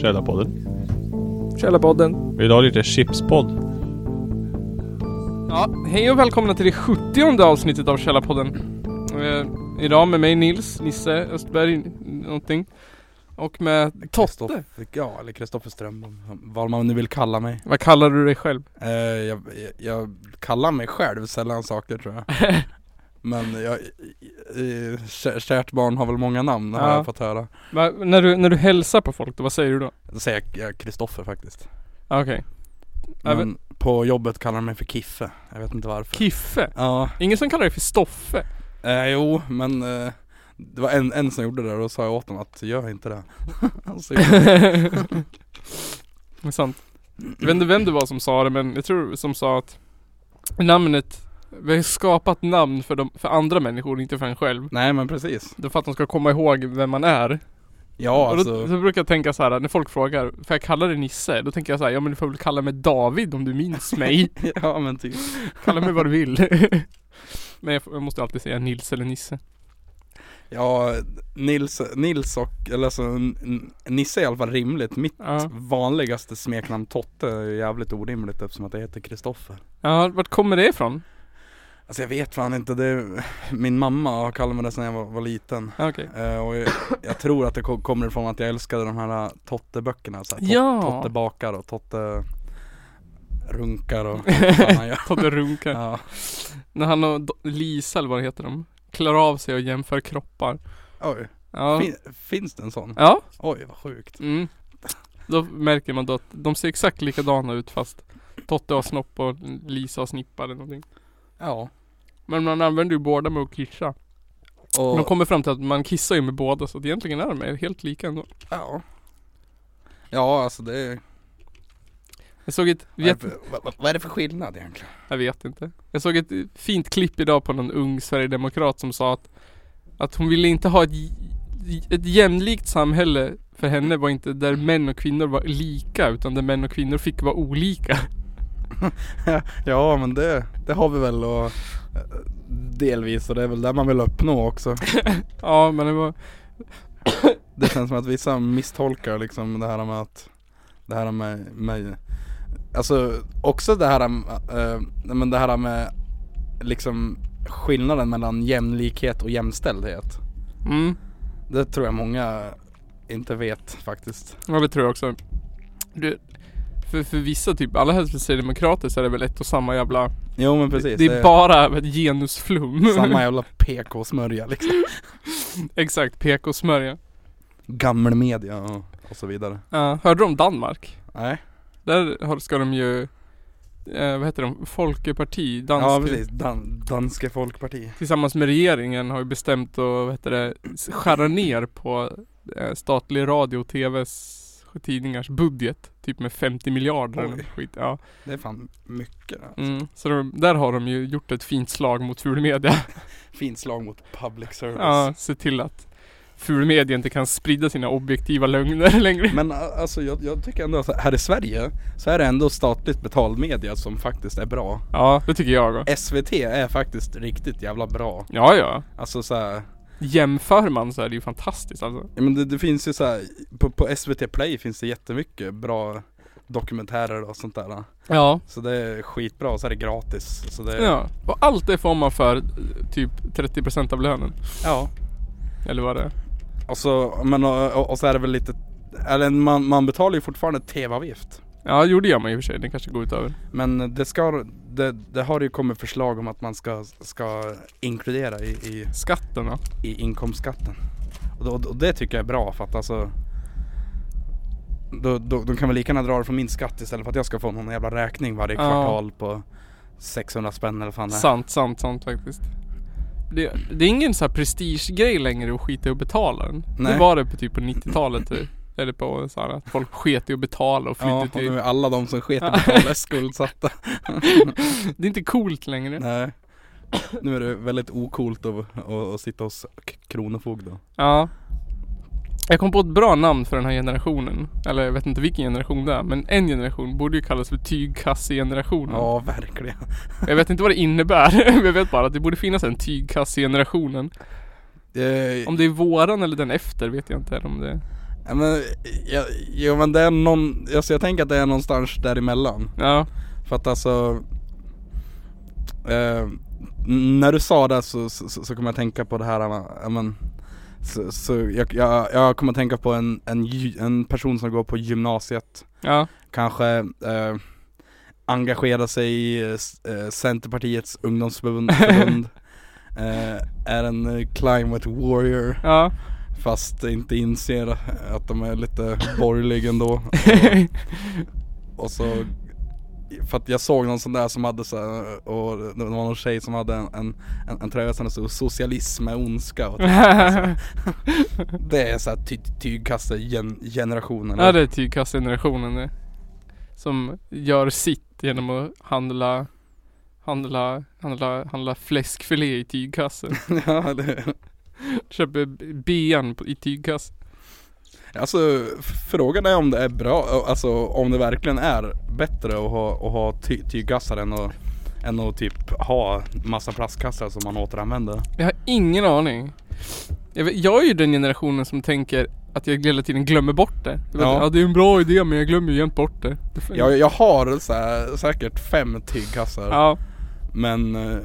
Källarpodden. Källarpodden. Vill du ha lite chipspodd? Ja, hej och välkomna till det 70 avsnittet av Källarpodden. Eh, idag med mig Nils, Nisse Östberg, n- någonting. Och med Totte. Kristoffer- Ja, eller Kristoffer Strömbom, vad man nu vill kalla mig. Vad kallar du dig själv? Eh, jag, jag, jag kallar mig själv sällan saker tror jag. Men jag, eh, kä- kärt barn har väl många namn har Ja. jag fått höra. Va, när, du, när du hälsar på folk då, vad säger du då? Då säger jag- jag Kristoffer faktiskt. Ah, Okej. Men Även- på jobbet kallar de mig för Kiffe. Jag vet inte varför. Kiffe. Ja, Ingen som kallar dig för Stoffe. eh, jo men eh, det var en, en som gjorde det och då sa jag åt honom att gör inte det. alltså, jag, Det är sant. Jag vet inte vem det var som sa det men jag tror som sa att namnet, vi har skapat namn för, de, för andra människor, inte för en själv. nej men precis. Det är för att de ska komma ihåg vem man är. Ja och då, alltså. då brukar jag tänka så här när folk frågar, får jag kalla dig Nisse? Då tänker jag så här, ja men du får väl kalla mig David om du minns mig. ja men typ. kalla mig vad du vill. men jag, får- jag måste alltid säga Nils eller Nisse. Ja, Nils, Nils och, eller alltså N- N- Nisse är i alla fall rimligt. Mitt Ja. vanligaste smeknamn Totte är jävligt orimligt eftersom att jag heter Kristoffer. ja, vart kommer det ifrån? Alltså jag vet fan inte, det är, min mamma har kallat mig det sedan jag var, var liten. Ja, Okej. Eh, och jag, jag tror att det ko- kommer ifrån att jag älskade de här äh, Totte-böckerna. Så här, tot, Ja. Totte bakar och Totte runkar och vad fan han gör. Totte Runka. Ja, När han och Do- Lisa eller vad heter de? Klarar av sig och jämför kroppar. oj. Ja. Fin, finns det en sån? Ja. Oj vad sjukt. Mm. Då märker man då att de ser exakt likadana ut fast Totte har snopp och Lisa har snippa eller någonting. Ja. Men man använder ju båda med att kissa. Och, De kommer fram till att man kissar ju med båda så att egentligen är de är helt lika ändå. ja. Ja alltså det är Jag såg ett, Vad är, det vet, för, vad, vad- vad är det för skillnad egentligen? jag vet inte. Jag såg ett fint klipp idag på någon ung sverigedemokrat som sa att, att hon ville inte ha ett, j- ett jämlikt samhälle för henne var inte där män och kvinnor var lika utan där män och kvinnor fick vara olika. Ja men det, det har vi väl och eh, delvis och det är väl där man vill uppnå också. Ja men det var, Det känns som att vissa misstolkar liksom det här med att det här med, med alltså också det här eh, men det här med liksom skillnaden mellan jämlikhet och jämställdhet. mm, Det tror jag många inte vet faktiskt. ja det tror jag också. Du, för, för vissa typ, alla helst för sverigedemokrater så är det väl ett och samma jävla Jo men precis. Det är bara ett genusflum. samma jävla PK-smörja liksom. Exakt, PK-smörja. Gammal media och, och så vidare. Ja, hörde du om Danmark? Nej. Där har- ska de ju, eh, vad heter de, Folkeparti, dansk, Ja precis, Dan- Danske Folkparti. tillsammans med regeringen har ju bestämt att, vad heter det, skära ner på eh, statlig radio och tvs tidningars budget. Typ med 50 miljarder eller Oj. något skit. Ja. Det är fan mycket. alltså. Mm. Så de, där har de ju gjort ett fint slag mot fulmedia. Fint slag mot public service. Ja, se till att fulmedia inte kan sprida sina objektiva lögner längre. Men a- alltså jag, jag tycker ändå att här i Sverige så är det ändå statligt betald media som faktiskt är bra. Ja, det tycker jag också. SVT är faktiskt riktigt jävla bra. Ja, ja. Alltså så här, Jämför man så är det ju fantastiskt alltså. ja, men det, det finns ju så här, på, på SVT Play finns det jättemycket bra dokumentärer och sånt där. Ja. Så det är skitbra och så är det gratis. Så det, Ja. Och allt det får man för eh, typ 30% av lönen. ja. Eller vad det är. Och, så, men, och, och så är det väl lite, eller man, man betalar ju fortfarande tv-avgift. Ja, jo det gör man i och för sig. Det kanske går utöver. Men det ska, det, det har ju kommit förslag om att man ska, ska inkludera i, i, Skatten då? i inkomstskatten. Och, då, och det tycker jag är bra för att alltså då, då, då kan vi lika gärna dra det från min skatt istället för att jag ska få någon jävla räkning varje Ja. kvartal på 600 spänn eller fan det är. Sant, sant, sant faktiskt. Det, det är ingen så här prestigegrej längre att skita i att betala den. Det Nej. var det på typ på 90-talet typ. Eller på så här att folk sket i att betala och Ja, flydde och till... nu är alla de som sket i att betala är skuldsatta. Det är inte coolt längre. Nej. Nu är det väldigt ocoolt att, att, att sitta hos k- Kronofogden. Ja. Jag kom på ett bra namn för den här generationen. Eller jag vet inte vilken generation det är. Men en generation borde ju kallas för tygkassegenerationen. Ja, verkligen. Jag vet inte vad det innebär. Men jag vet bara att det borde finnas en tygkassegenerationen. Eh, Om det är våran eller den efter vet jag inte om det ja, men, ja, jo men det är någon, alltså jag tänker att det är någonstans däremellan. Ja, För att alltså eh, När du sa det så, så, så så kom jag att tänka på det här, ja, men, så, så jag, jag, jag kommer att tänka på en, en, gy- en person som går på gymnasiet ja, Kanske eh, engagerar sig i eh, s- eh, Centerpartiets ungdomsförbund förbund, eh, Är en eh, climate warrior ja fast inte inser att de är lite borgerlig ändå och så För att jag såg någon sån där som hade så här, och det var någon tjej som hade en, en, en, en tröja som det stod 'Socialism är ondska' och Det är såhär ty, tygkastargenerationen Ja det är tygkassegenerationen det Som gör sitt genom att handla Handla, handla, handla fläskfilé i tygkasse ja, det Köper b- bean på- i tygkasse Alltså f- frågan är om det är bra, alltså om det verkligen är bättre att ha, att ha ty, tygkassar än att, än att typ ha massa plastkassar som man återanvänder Jag har ingen aning jag, vet, jag är ju den generationen som tänker att jag hela tiden glömmer bort det jag vet, Ja. ja. det är en bra idé men jag glömmer ju jämt bort det Jag, jag har så här, säkert fem tygkassar Ja, Men eh,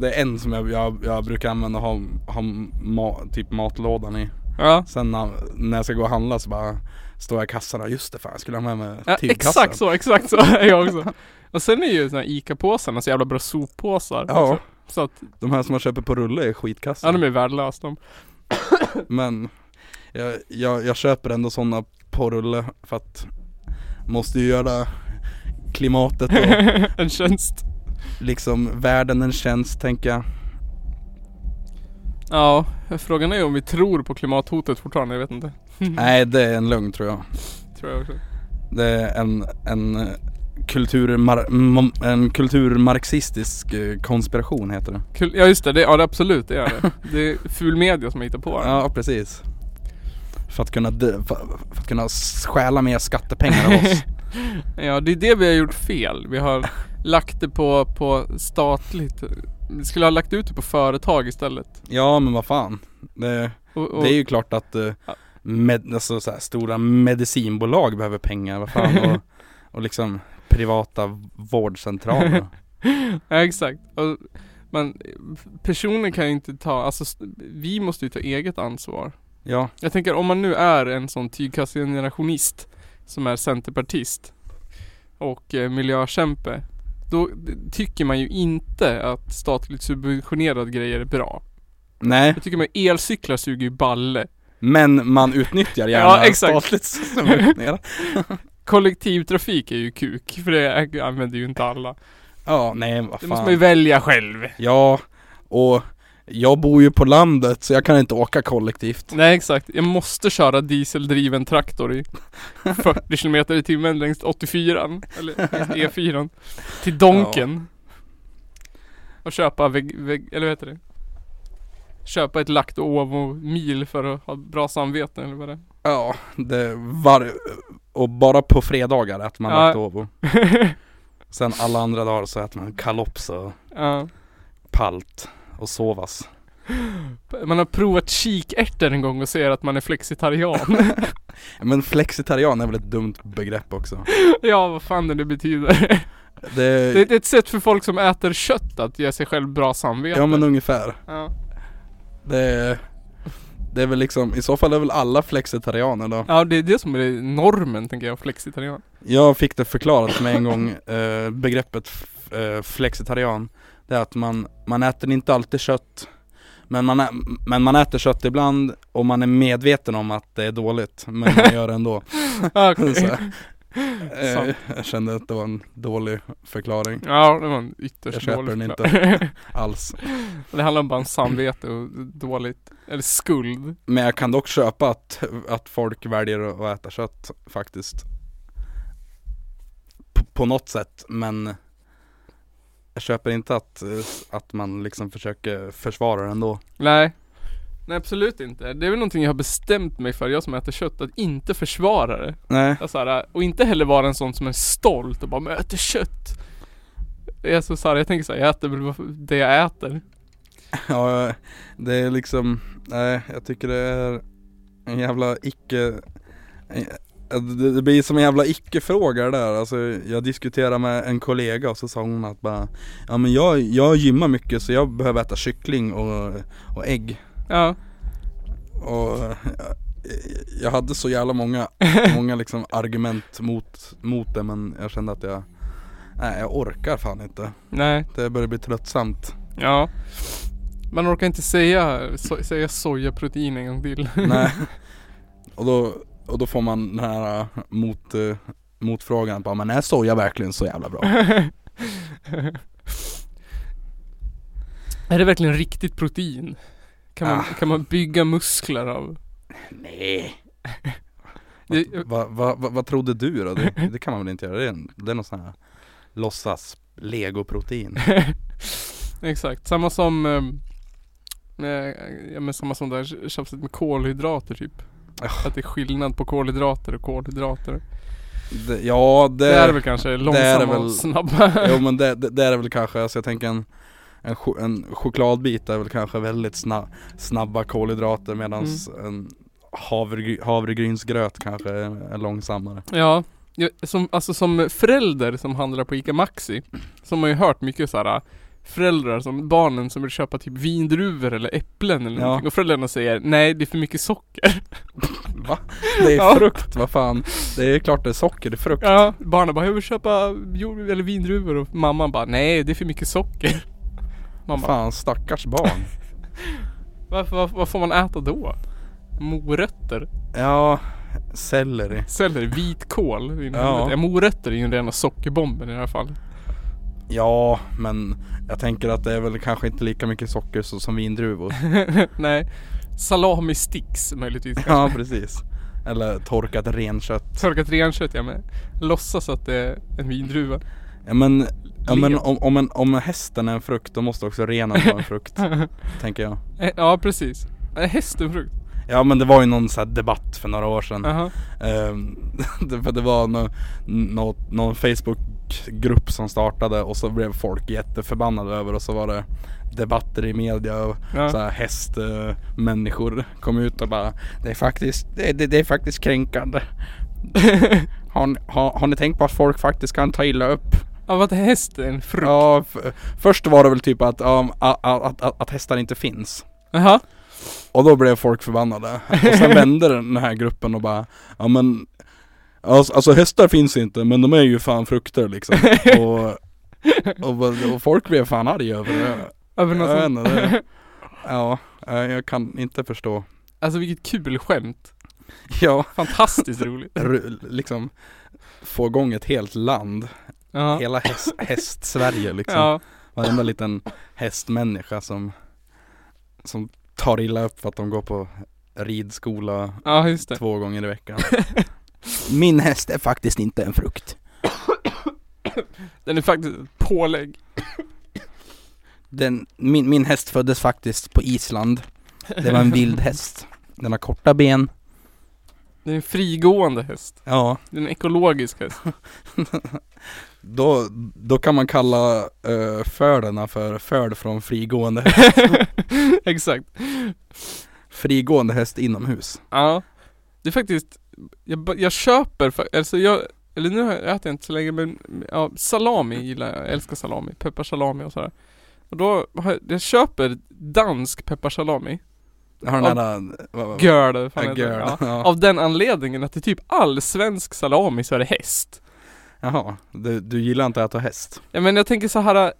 det är en som jag, jag, jag brukar använda och ha, ha ma, typ matlådan i. ja Sen när, när jag ska gå och handla så bara står jag i kassan och just det fan jag skulle ha med mig Ja, tygkassen. exakt så, exakt så är jag också. Och sen är ju såna här ICA-påsarna så jävla bra soppåsar. Alltså, Ja, Så att, de här som man köper på rulle är skitkassa. ja de är värdelösa de. Men jag, jag, jag köper ändå sådana på rulle för att måste ju göra klimatet och en tjänst. liksom världen en tjänst tänker jag. Ja, frågan är om vi tror på klimathotet fortfarande, jag vet inte. Nej det är en lögn tror jag. Tror jag också. Det är en, en eh, kulturmar, mom- en kulturmarxistisk eh, konspiration heter det. Kul. Ja just det, det, ja, det absolut det är det. Det är ful media som hittar på det. Ja precis. För att kunna, dö, för, för att kunna stjäla mer skattepengar av oss. Ja, det är det vi har gjort fel. Vi har lagt det på, på statligt. Vi skulle ha lagt ut det på företag istället. Ja men vad fan. Det, Och, och, det är ju klart att eh, Ja. med, alltså, så här, stora medicinbolag behöver pengar. Vad fan. Och, och liksom privata vårdcentraler. Ja, exakt. Och, men personer kan ju inte ta, alltså s- vi måste ju ta eget ansvar. Ja, Jag tänker om man nu är en sån tygkassegenerationist som är centerpartist och eh, miljökämpe. Då d- tycker man ju inte att statligt subventionerade grejer är bra. nej. Jag tycker man elcyklar suger ju balle. Men man utnyttjar gärna Ja, exakt. statligt subventionerat. Kollektivtrafik är ju kuk, för det ä- använder ju inte alla. Ja, nej vad Det fan. måste man ju välja själv. Ja, och jag bor ju på landet så jag kan inte åka kollektivt. Nej exakt, jag måste köra dieseldriven traktor i 40 kilometer i timmen längs 84 eller E4 till Donken. Och köpa vägg, vägg, eller vad heter det? Köpa ett lakt och ovo mil för att ha bra samvete eller vad det är. Ja, det var... Och bara på fredagar äter man Ja. Lactovo. Sen alla andra dagar så äter man kalops och Ja. palt och sovas. Man har provat kikärtor en gång och ser att man är flexitarian. Men flexitarian är väl ett dumt begrepp också. ja, vad fan det nu betyder. Det, Det det är ett sätt för folk som äter kött att ge sig själv bra samvete. ja men ungefär. Ja. Det, det är väl liksom, i så fall är väl alla flexitarianer då. ja, det är det som är normen tänker jag, flexitarian. Jag fick det förklarat för mig en gång, eh, begreppet f- eh, flexitarian. Det är att man, man äter inte alltid kött, men man, ä- men man äter kött ibland och man är medveten om att det är dåligt, men man gör det ändå. Ja, Så, okej. här. eh, jag kände att det var en dålig förklaring Ja, det var en ytterst Jag köper dålig den förklaring. alls. Det handlar bara om samvete och dåligt, eller skuld. Men jag kan dock köpa att, att folk väljer att att äta kött faktiskt. P- på något sätt, men jag köper inte att, eh, att man liksom försöker försvara det ändå. Nej. Nej absolut inte. Det är väl någonting jag har bestämt mig för, jag som äter kött, att inte försvara det. Nej. Jag så här, och inte heller vara en sån som är stolt och bara "Men jag äter kött. Jag, är så så här, jag tänker såhär, jag äter väl vad- det jag äter. Ja, det är liksom, nej jag tycker det är en jävla icke det det blir som en jävla icke-fråga det där, alltså jag diskuterade med en kollega och så sa hon att bara Ja men jag, jag gymmar mycket så jag behöver äta kyckling och, och ägg Ja. Och eh, jag hade så jävla många, många liksom argument mot, mot det men jag kände att jag Nej jag orkar fan inte Nej. Det börjar bli tröttsamt Ja. Man orkar inte säga, so- säga sojaprotein en gång till. Nej. Och då, och då får man den här äh, mot, eh, motfrågan bara, men är soja verkligen så jävla bra? Är det verkligen riktigt protein? Kan man, Ah. kan man bygga muskler av? Nej. Det, Vad va, va, vad trodde du då? Det, det kan man väl inte göra? Det är, en, det är någon sån här låtsas legoprotein. exakt, samma som ehm, eh, ja, men samma som det här tjafset med kolhydrater typ. Ah. Att det är skillnad på kolhydrater och kolhydrater. Det, ja det, Det, är väl kanske långsamma det väl- och snabba. Jo men det, det, det är det väl kanske, alltså jag tänker en en, cho- en chokladbit är väl kanske väldigt sna, snabba kolhydrater medans Mm. en havregry, havregrynsgröt kanske är, är långsammare. Ja, ja, som, alltså som förälder som handlar på ICA Maxi Så har man ju hört mycket så här äh, Föräldrar som, barnen som vill köpa typ vindruvor eller äpplen eller Ja. någonting och föräldrarna säger Nej det är för mycket socker Va? Det är Ja. frukt, vad fan. Det är klart det är socker, det är frukt. Ja, barnen bara jag vill köpa jord- eller vindruvor och mamman bara Nej det är för mycket socker Mamma, Fan stackars barn. varför, varför, vad får man äta då? Morötter? ja, selleri. Selleri? Vitkål? Ja. Ja. ja morötter är ju den rena sockerbomben i det här fallet Ja, men jag tänker att det är väl kanske inte lika mycket socker så, som vindruvor. Nej Salami sticks möjligtvis ja, precis. Eller torkat renkött. Torkat renkött ja men låtsas att det är en vindruva. Ja men, ja, men Led. om, om, en, om hästen är en frukt då måste också renen vara en frukt. tänker jag. Eh, ja precis. Eh, Hästenfrukt. Ja men det var ju någon sån här debatt för några år sedan. Aha. Ehm, det- för det var nå, nå, någon Facebookgrupp som startade och så blev folk jätteförbannade över och så var det debatter i media och Ja. så här hästmänniskor kom ut och bara Det är faktiskt, det, det, det är faktiskt kränkande. har, ni- har, har ni tänkt på att folk faktiskt kan ta illa upp? Av att häst är en frukt. Ja, f- först var det väl typ att, um, att, att, att, att hästar inte finns. Jaha. Och då blev folk förbannade. Och sen vände den här gruppen och bara, ja men Alltså, alltså hästar finns inte men de är ju fan frukter liksom. Och, och, bara- och folk blev fan arga över det. Över något Jag vet sånt. inte, det- Ja, eh, jag kan inte förstå. Alltså vilket kul skämt. Ja, Fantastiskt roligt. ru- liksom få igång ett helt land. Ja. Hela häst, häst-Sverige liksom. Ja. Varenda liten hästmänniska som, som tar illa upp för att de går på ridskola ja just det. två gånger i veckan. Min häst är faktiskt inte en frukt. Den är faktiskt ett pålägg. Den, min, min häst föddes faktiskt på Island. Det var en vild häst. Den har korta ben. Det är en frigående häst. Ja. Det är en ekologisk häst. Då, då kan man kalla uh, fölerna för föl från frigående häst. Exakt. Frigående häst inomhus. Ja. Det är faktiskt, jag, ba- jag köper, fa- alltså jag, eller nu har jag- äter jag inte så länge men ja, salami gillar jag, jag älskar salami, pepparsalami och sådär. Och då, har jag, jag köper dansk pepparsalami, Jag har den där... vad- vad- girl, vad fan Ja, heter det? girl. Ja. Ja. Av den anledningen att i typ all svensk salami så är det häst. Jaha, du, du gillar inte att äta häst? Ja men jag tänker så här.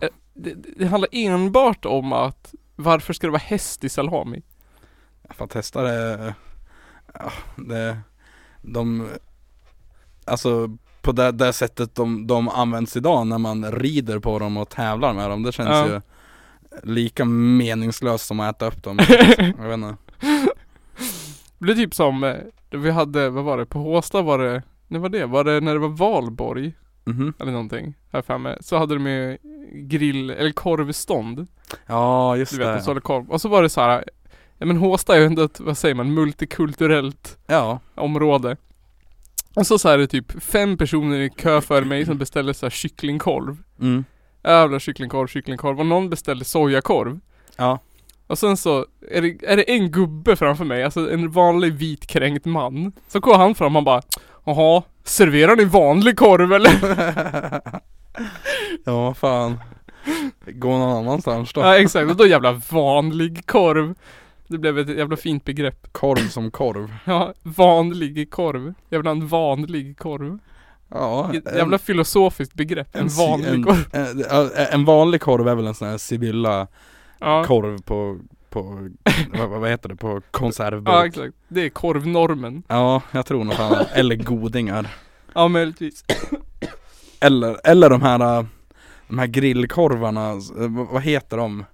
eh, Det, det handlar enbart om att varför ska det vara häst i salami? För att hästar är, ja, det, de, alltså på det, det sättet de, de används idag när man rider på dem och tävlar med dem, det känns Ja. ju lika meningslöst som att äta upp dem. Jag vet inte. Det blir typ som, eh, det vi hade, vad var det, på Håsta var det, när var det? Var det när det var valborg? Mhm. Eller någonting, här för mig. Så hade de ju grill, eller korvstånd. Ja just Du vet, de det. sålde korv. Och så var det så här, ja men Håsta är ju ändå ett, vad säger man, multikulturellt Ja, område. Och så, så här är det typ fem personer i kö för mig som beställde så här kycklingkorv. mm. Jävla kycklingkorv, kycklingkorv. Och någon beställde sojakorv. Ja. Och sen så är det, är det en gubbe framför mig, alltså en vanlig vit kränkt man. Så går han fram och bara Jaha, serverar ni vanlig korv eller? ja vad fan. Gå någon annanstans då. ja exakt, och då jävla vanlig korv. Det blev ett jävla fint begrepp. Korv som korv. Ja, vanlig korv. Jävla en vanlig korv. Ja. Ett Jävla filosofiskt begrepp. En si- vanlig korv. En, en, en vanlig korv är väl en sån här Sibylla Ja, korv på, på vad, vad heter det, på ja konservburk. exakt. Det är korvnormen. Ja, jag tror nog fan, eller godingar. Ja möjligtvis. Eller, eller de här, äh, de här grillkorvarna, s- eh, vad vad heter de?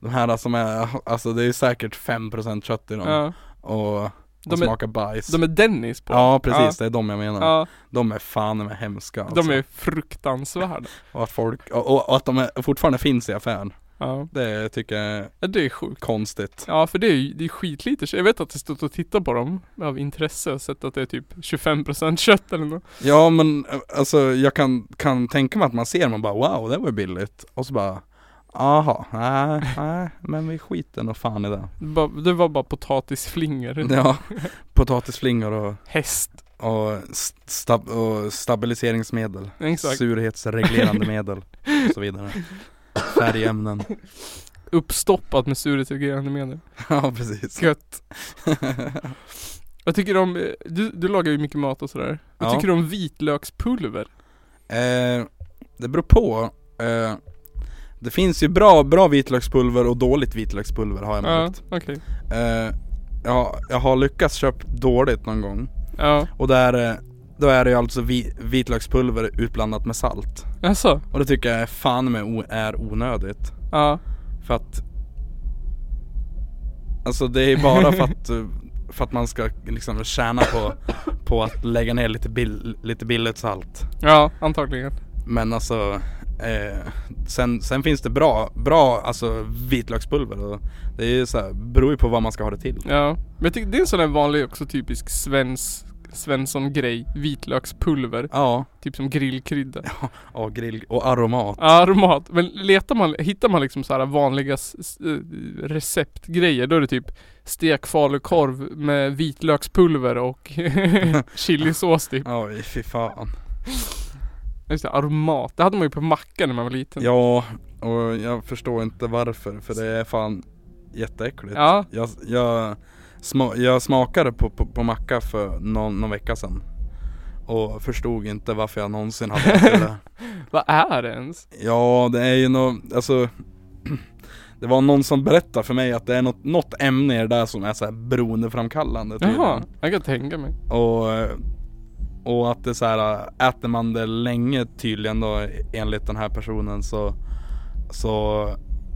De här som är, alltså det är säkert 5% kött i dem Ja. och, och De är, smakar bajs de är Dennis på. Ja precis, det är de jag menar. Ja, De är fan med hemska alltså. de är fruktansvärda. och, att folk, och, och, och att de är, fortfarande finns i affären, Ja, det tycker jag är Ja, det är sjukt. konstigt Ja för det är ju, det är skitlite kött. Jag vet att jag stått och tittat på dem av intresse och sett att det är typ 25% kött eller något. Ja men eh, alltså jag kan, kan tänka mig att man ser man bara wow det var billigt och så bara Aha, nej, nej, men vi skiter nog fan i det. Ba- Det var bara potatisflingor. Ja, potatisflingor och Häst. Och, st- stab- och stabiliseringsmedel, Exakt. surhetsreglerande medel och så vidare. Färgämnen. Uppstoppat med surhetsreglerande medel. ja, precis. Gött. Vad tycker du om, eh, du, du lagar ju mycket mat och sådär. Vad Ja. tycker du om vitlökspulver? eh, det beror på. Eh, det finns ju bra, bra vitlökspulver och dåligt vitlökspulver har jag Ja, märkt. okej. Eh, jag, jag har lyckats köpt dåligt någon gång. Ja, Och där, eh, då är det ju alltså vi, vitlökspulver utblandat med salt. alltså. Och det tycker jag är fan med o- är onödigt. Ja, För att Alltså det är bara för att eh, För att man ska liksom tjäna på På att lägga ner lite, bill, lite billigt salt ja antagligen. Men alltså eh, sen, sen finns det bra, bra alltså vitlökspulver och Det är ju så här, beror ju på vad man ska ha det till Ja. Men jag tycker det är en sån där vanlig också typisk svensk Svensson-grej. Vitlökspulver. Ja, Typ som grillkrydda. och grill och aromat Ja, aromat. Men letar man, hittar man liksom så här vanliga s- s- eh, receptgrejer, då är det typ stek falukorv med vitlökspulver och chilisås typ. Oj fy fan Just det, aromat. Det hade man ju på mackan när man var liten. Ja, och jag förstår inte varför för det är fan jätteäckligt Ja, Jag, jag, sma, jag smakade på, på, på macka för någon, någon vecka sedan Och förstod inte varför jag någonsin hade ätit det vad är det ens? Ja det är ju något, alltså Det var någon som berättade för mig att det är något, något ämne i det där som är så här typ. beroendeframkallande tydligen. Jaha, jag kan tänka mig. Och, och att det är så här äter man det länge tydligen då enligt den här personen så Så,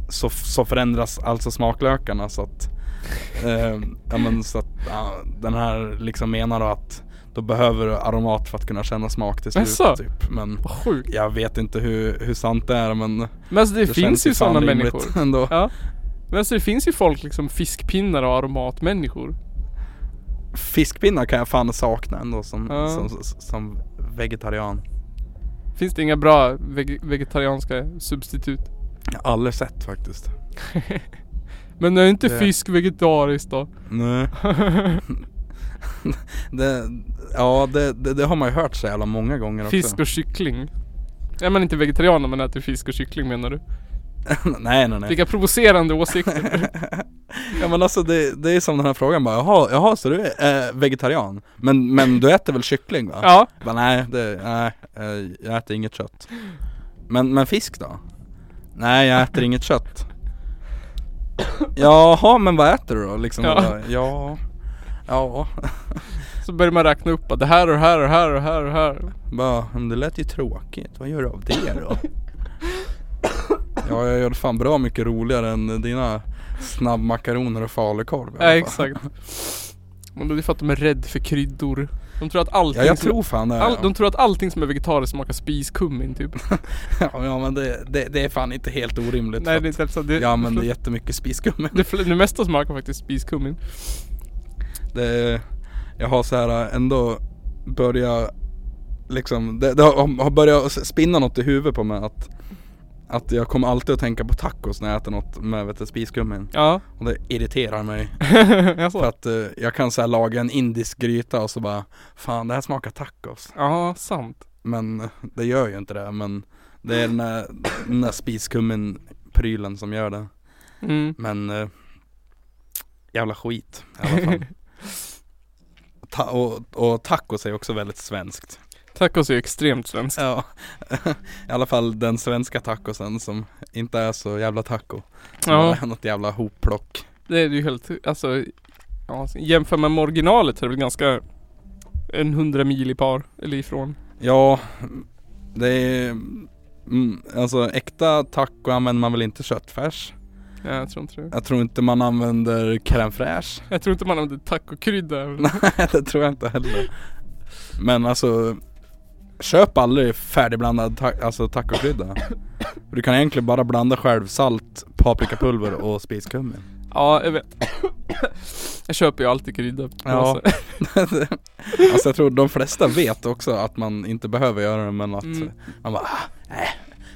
så, så förändras alltså smaklökarna så att eh, Ja men så att ja, den här liksom menar då att Då behöver du aromat för att kunna känna smak till Jaså? slut typ Men Vad sjukt. jag vet inte hur, hur sant det är men Det, Men alltså det, känns finns ju fan sådana rimligt människor. ändå. Ja. Men alltså det finns ju folk liksom fiskpinnar och aromatmänniskor. Fiskpinnar kan jag fan sakna ändå som, Ja. som, som, som vegetarian Finns det inga bra veg- vegetarianska substitut? Jag har aldrig sett faktiskt Men är inte Det- fisk vegetariskt då? Nej. det, ja det, det, det har man ju hört så jävla många gånger också. Fisk och kyckling. Är man inte vegetarian om man äter fisk och kyckling menar du? nej nej nej. Vilka provocerande åsikter. ja men alltså det, det är som den här frågan bara, jaha, jaha så du är eh, vegetarian? Men, men du äter väl kyckling va? ja, Bara, nej, det, nej, eh, jag äter inget kött. Men, men fisk då? Nej jag äter inget kött. Jaha men vad äter du då liksom? Ja. Bara, ja. Ja, så börjar man räkna upp att det här och det här och det här och det här och det här. Bara, "Men det lät ju tråkigt, vad gör du av det då? ja jag gör det fan bra mycket roligare än dina snabbmakaroner och falukorv i alla Ja, fall. exakt. Men det är för att de är rädda för kryddor. De tror att allting Ja jag som, tror fan det all, De tror att allting som är vegetariskt smakar spiskummin typ. ja, ja men det, det, det är fan inte helt orimligt Nej Nej, det är typ så. Det, Jag använder jättemycket spiskummin det, fl- det mesta smakar faktiskt spiskummin. det, Jag har så här ändå börjat Liksom, det, det har, har börjat spinna något i huvudet på mig att Att jag kommer alltid att tänka på tacos när jag äter något med vet du, spiskummin. Ja. Och det irriterar mig. För Jaså? att eh, jag kan så här laga en indisk gryta och så bara Fan det här smakar tacos. Ja, sant. Men eh, det gör ju inte det. Men det är den här, den här spiskummin-prylen som gör det. Mm. Men eh, jävla skit i alla fall. Ta- och, och tacos är också väldigt svenskt. Tacos är ju extremt svenskt. Ja, i alla fall den svenska tacosen som inte är så jävla taco. Som Ja, är något jävla hopplock. det är ju helt, alltså, ja, jämför man med originalet så är det väl ganska en hundra mil i par, eller ifrån. Ja, det är mm, Alltså äkta taco använder man väl inte köttfärs? Nej, jag tror inte det. Jag tror inte man använder crème fraîche. Jag tror inte man använder tacokrydda. Nej, det tror jag inte heller. Men alltså Köp aldrig färdigblandad ta- alltså tacokrydda. För Du kan egentligen bara blanda själv salt, paprikapulver och spiskummin. Ja, jag vet. Jag köper ju alltid krydda. Ja. alltså jag tror de flesta vet också att man inte behöver göra det men att Mm. man bara "Ah, nej,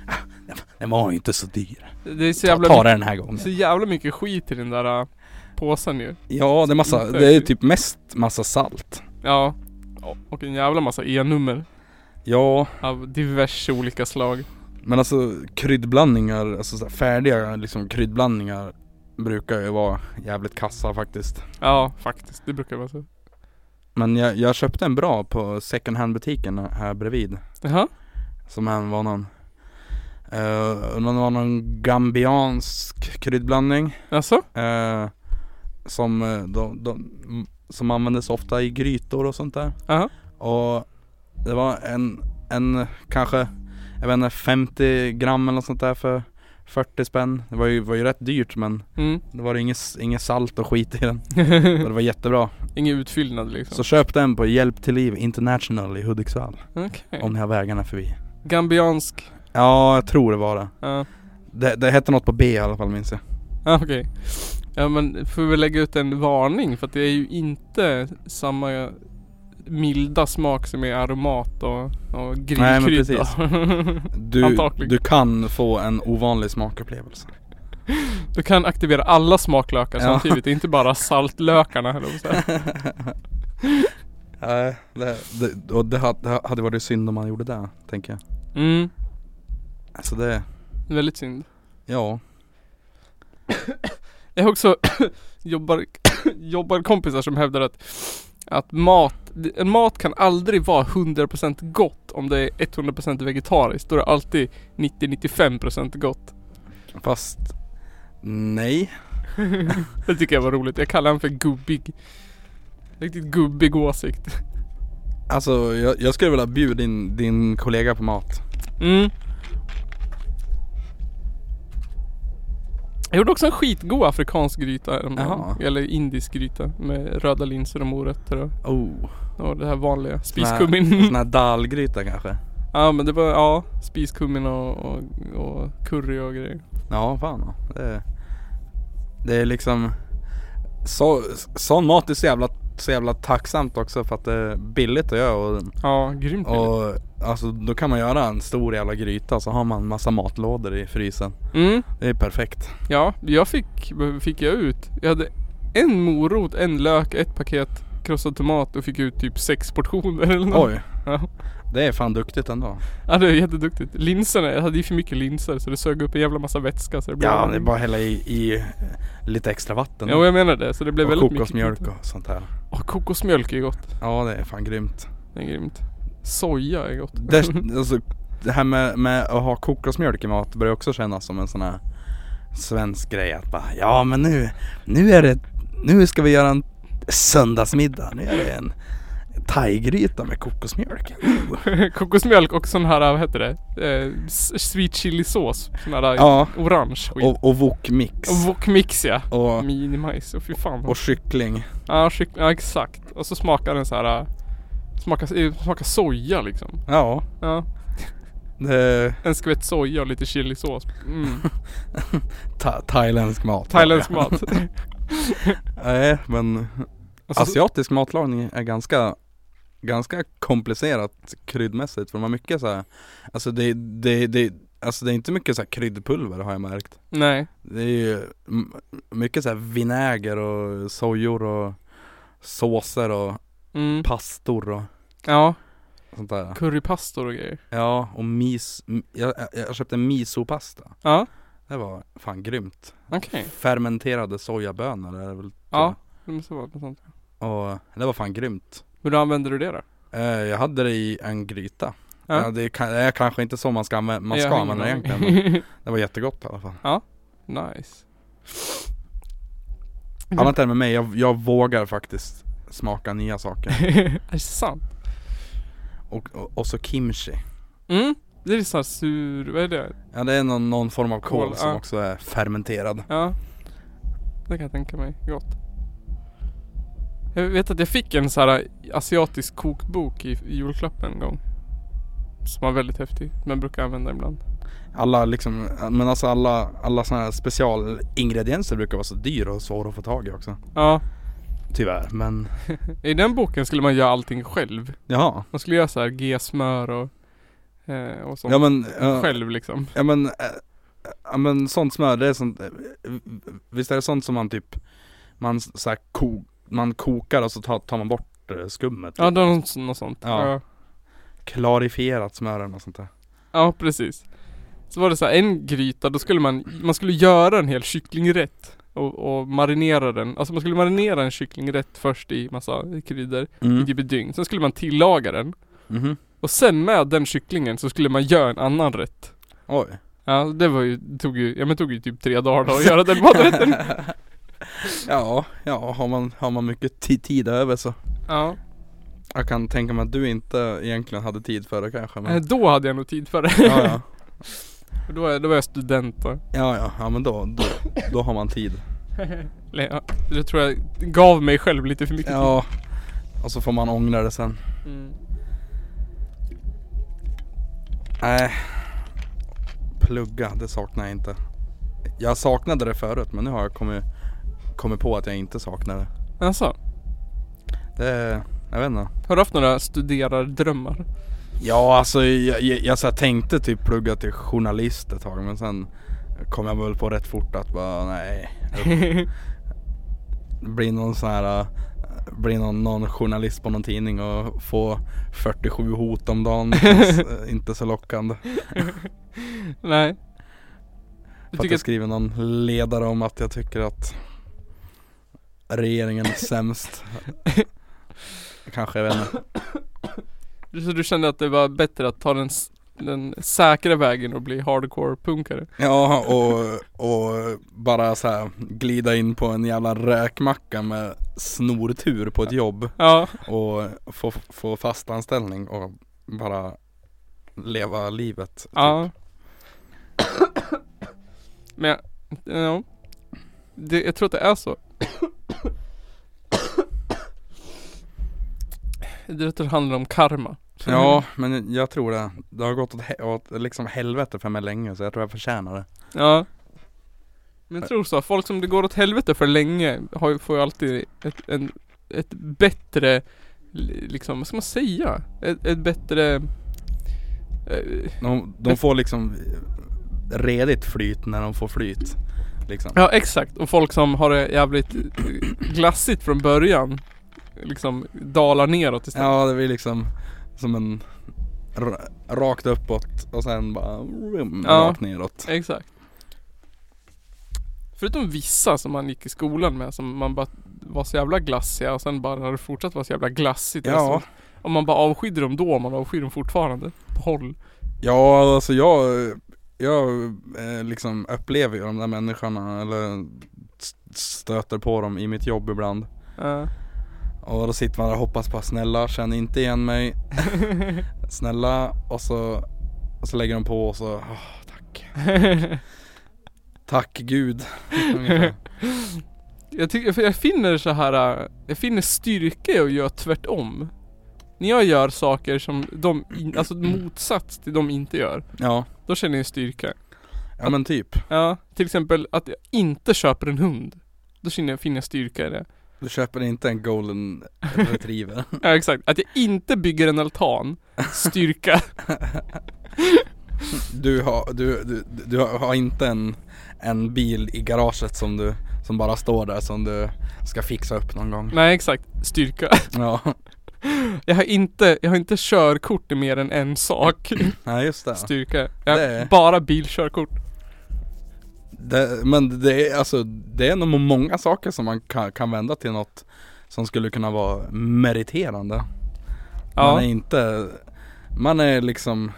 ah, den- den var ju inte så dyr. Det är så Ta, jävla, ta det den här gången. mycket- så jävla mycket skit i den där äh, påsen ju. Ja, det är massa, Inte. det är typ mest massa salt. Ja. Och en jävla massa E-nummer Ja, av diverse olika slag. men alltså kryddblandningar, alltså så här färdiga liksom kryddblandningar brukar ju vara jävligt kassa faktiskt. Ja, faktiskt. Det brukar vara så. Men jag, jag köpte en bra på second hand butiken här bredvid. Jaha? Som även var någon, uh, någon var någon gambiansk kryddblandning. Alltså? Eh, som, eh, de, de, m- som användes ofta i grytor och sånt där. Jaha? Och det var en, en eh, kanske, jag vet inte, 50 gram eller något sånt där för 40 spänn. Det var ju, var ju rätt dyrt men Mm. det var inget, inget salt och skit i den. Och det var jättebra. Ingen utfyllnad liksom. Så köp den på Hjälp till liv international i Hudiksvall. Okej. Om ni har vägarna förbi. Gambiansk. Ja, jag tror det var det. Ja. Det, det hette något på B i alla fall minns jag. Ja okej. Ja men får vi lägga ut en varning för att det är ju inte samma milda smak som är aromat och, och Nej, men grillkrydda. precis. Du, Antagligen. du kan få en ovanlig smakupplevelse. du kan aktivera alla smaklökar Ja. samtidigt, inte bara saltlökarna eller vad säger. Nej, det, det, och det, ha- det ha- hade varit synd om man gjorde det, tänker jag. Mm, Alltså det, väldigt synd. ja. Jag har också jobbar, jobbar kompisar som hävdar att, att mat, en mat kan aldrig vara 100% gott om det är 100% vegetariskt. Då är det alltid 90-95% gott. Fast, nej. Det tycker jag var roligt. Jag kallar han för gubbig. Riktigt gubbig åsikt. Alltså jag, jag skulle vilja bjuda in din kollega på mat. Mm. Jag gjorde också en skitgod afrikansk gryta häromdagen. Jaha. Eller indisk gryta med röda linser och morötter och, Oh. och det här vanliga. Sån här- Spiskummin. Sån här dalgryta kanske. ja men det var, ja. Spiskummin och, och, och curry och grejer. Ja, fan. Det, det är liksom, så, sån mat är så jävla, så jävla tacksamt också för att det är billigt att göra och, Ja, grymt billigt. och alltså då kan man göra en stor jävla gryta så har man massa matlådor i frysen. Mm. Det är perfekt. Ja, jag fick, fick jag ut. Jag hade en morot, en lök, ett paket krossad tomat och fick ut typ sex portioner eller något. Oj, Ja. det är fan duktigt ändå. ja, det är jätteduktigt. Linserna, jag hade ju för mycket linser så det sög upp en jävla massa vätska så det blev Ja, det är bara att hälla i, i lite extra vatten. Ja, och jag menar det. Så det blev och väldigt kokosmjölk mycket. och sånt här. Och kokosmjölk är gott. Ja, det är fan grymt. Det är grymt. Soja är gott. Det, alltså, det här med, med att ha kokosmjölk i mat börjar också kännas som en sån här svensk grej. Att bara, ja men nu, nu är det, nu ska vi göra en söndagsmiddag. Nu är det en thaigryta med kokosmjölk. kokosmjölk och sån här, vad heter det? Eh, s- sweet chili sås. Sån här Ja, orange skit. och, och wokmix. Och wokmix ja. Och, Minimajs, och fy fan. och kyckling. Ja, kyck- ja exakt. Och så smakar den så här. äh, Smakar, eh, smakar soja liksom. Ja, Ja. det, En skvätt soja och lite chilisås. Mm. tha- thailändsk mat. Thailändsk mat. Nej, men Och så- asiatisk matlagning är ganska Ganska komplicerat kryddmässigt för de har mycket så här. Alltså det, det, det alltså det är inte mycket så här kryddpulver har jag märkt. Nej. Det är ju m- mycket så här vinäger och sojor och såser och Mm. pastor och Ja, sånt där. currypastor och grejer. Ja, och mis, m- jag, jag- jag köpte misopasta. Ja, Det var fan grymt. okej. Fermenterade sojabönor är det väl tror Ja. Det måste vara något sånt. jag. Och det var fan grymt. Hur använder du det då? Eh, Jag hade det i en gryta. Ja. Ja. det, är, ka- det är kanske inte så man ska använda, man Jag ska har använda det ingen egentligen. aning. Men det var jättegott i alla fall. nice. Annat än med mig, jag, jag vågar faktiskt smaka nya saker. är det sant? Och, och, och så kimchi. Mm. Det är så här sur, vad är det? Ja det är någon, någon form av kål Kål, som ja. också är fermenterad. Ja. Det kan jag tänka mig. Gott. Jag vet att jag fick en så här äh, asiatisk kokbok i, i julklapp en gång. Som var väldigt häftig. Men brukar använda ibland. Alla liksom, men alltså alla, alla sådana här specialingredienser brukar vara så dyra och svåra att få tag i också. Ja. Tyvärr, men I den boken skulle man göra allting själv. jaha. Man skulle göra så här G-smör och, eh, och sånt. Ja men, eh, Själv liksom. ja men, eh, ja men sånt smör det är sånt, eh, visst är det sånt som man typ, man så här ko, man kokar och så tar, tar man bort eh, skummet. Ja, det var något, något sånt. Ja. Ja. Klarifierat smör eller något sånt där. Ja, precis. Så var det så här, en gryta, då skulle man, man skulle göra en hel kycklingrätt och, och marinera den. Alltså man skulle marinera en kycklingrätt först i massa kryddor, i Mm. typ ett dygn. Sen skulle man tillaga den. Mhm. Och sen med den kycklingen så skulle man göra en annan rätt. Oj. Ja, det var ju, tog ju, ja men tog ju typ tre dagar då att göra den maträtten. ja, ja har, man, har man mycket ti- tid över så. Ja, Jag kan tänka mig att du inte egentligen hade tid för det kanske. Men... eh, då hade jag nog tid för det. ja, ja. För Då, var- då var jag student då. ja, ja, ja men då, då, då har man tid. Eller, ja, Det tror jag gav mig själv lite för mycket tid. Ja, och så får man ångra det sen. Mm. Nej, plugga det saknar jag inte. Jag saknade det förut men nu har jag kommit, kommit på att jag inte saknar det. Alltså, Det är, jag vet inte. har du haft några studerardrömmar? Ja alltså jag, jag, jag så här tänkte typ plugga till journalist ett tag men sen kom jag väl på rätt fort att bara nej. Bli någon sån här, äh, bli någon, någon journalist på någon tidning och få 47 hot om dagen. Det känns, äh, inte så lockande. Nej. Du För att tycker jag att, skriver någon ledare om att jag tycker att regeringen är sämst. Kanske, jag vet inte. så du kände att det var bättre att ta den, s- den säkra vägen och bli hardcore-punkare? Ja, och, och bara så här glida in på en jävla räkmacka med snortur på ett jobb Ja, och få, få fast anställning och bara leva livet. typ. ja. Men jag, ja. Det, jag tror att det är så. Det tror jag handlar om karma. Ja, men jag tror det. Det har gått åt, he- åt liksom helvete för mig länge så jag tror jag förtjänar det. Ja. Men jag tror så, folk som det går åt helvete för länge har, ju- får ju alltid ett, en, ett bättre, li- liksom, vad ska man säga? Ett, ett bättre... eh, De, de får liksom redigt flyt när de får flyt. Liksom. Ja exakt, och folk som har det jävligt eh, glassigt från början liksom dalar neråt istället. Ja, det blir liksom som en ra- rakt uppåt och sen bara vroom, Ja. rakt neråt. Exakt. Förutom vissa som man gick i skolan med som man bara var så jävla glassiga och sen bara har det fortsatt vara så jävla glassigt. Ja, resten. Om man bara avskydde dem då, om man avskyr dem fortfarande. På håll. ja alltså jag, jag eh, liksom upplever ju de där människorna eller s- stöter på dem i mitt jobb ibland. Ja. Och då sitter man där och hoppas på snälla känn inte igen mig. snälla och så, och så lägger de på och så "Ah, tack. Tack gud. Ungefär. jag, tycker, för jag finner så här, äh, jag finner styrka i att göra tvärtom. När jag gör saker som de, in, alltså motsats till de inte gör. Ja, Då känner jag styrka. ja men typ. Ja, till exempel att jag inte köper en hund. Då känner jag, finner jag styrka i det. Du köper inte en golden retriever. Ja exakt, att jag inte bygger en altan. Styrka. Du har, du, du, du har inte en, en bil i garaget som du som bara står där som du ska fixa upp någon gång. Nej exakt, styrka. Ja, Jag har inte, jag har inte körkort i mer än en sak. nej just det. Styrka. Jag har Det är- bara bilkörkort. det. Men det är alltså, det är nog många saker som man kan, kan vända till något som skulle kunna vara meriterande. Man Ja. är inte, man är liksom,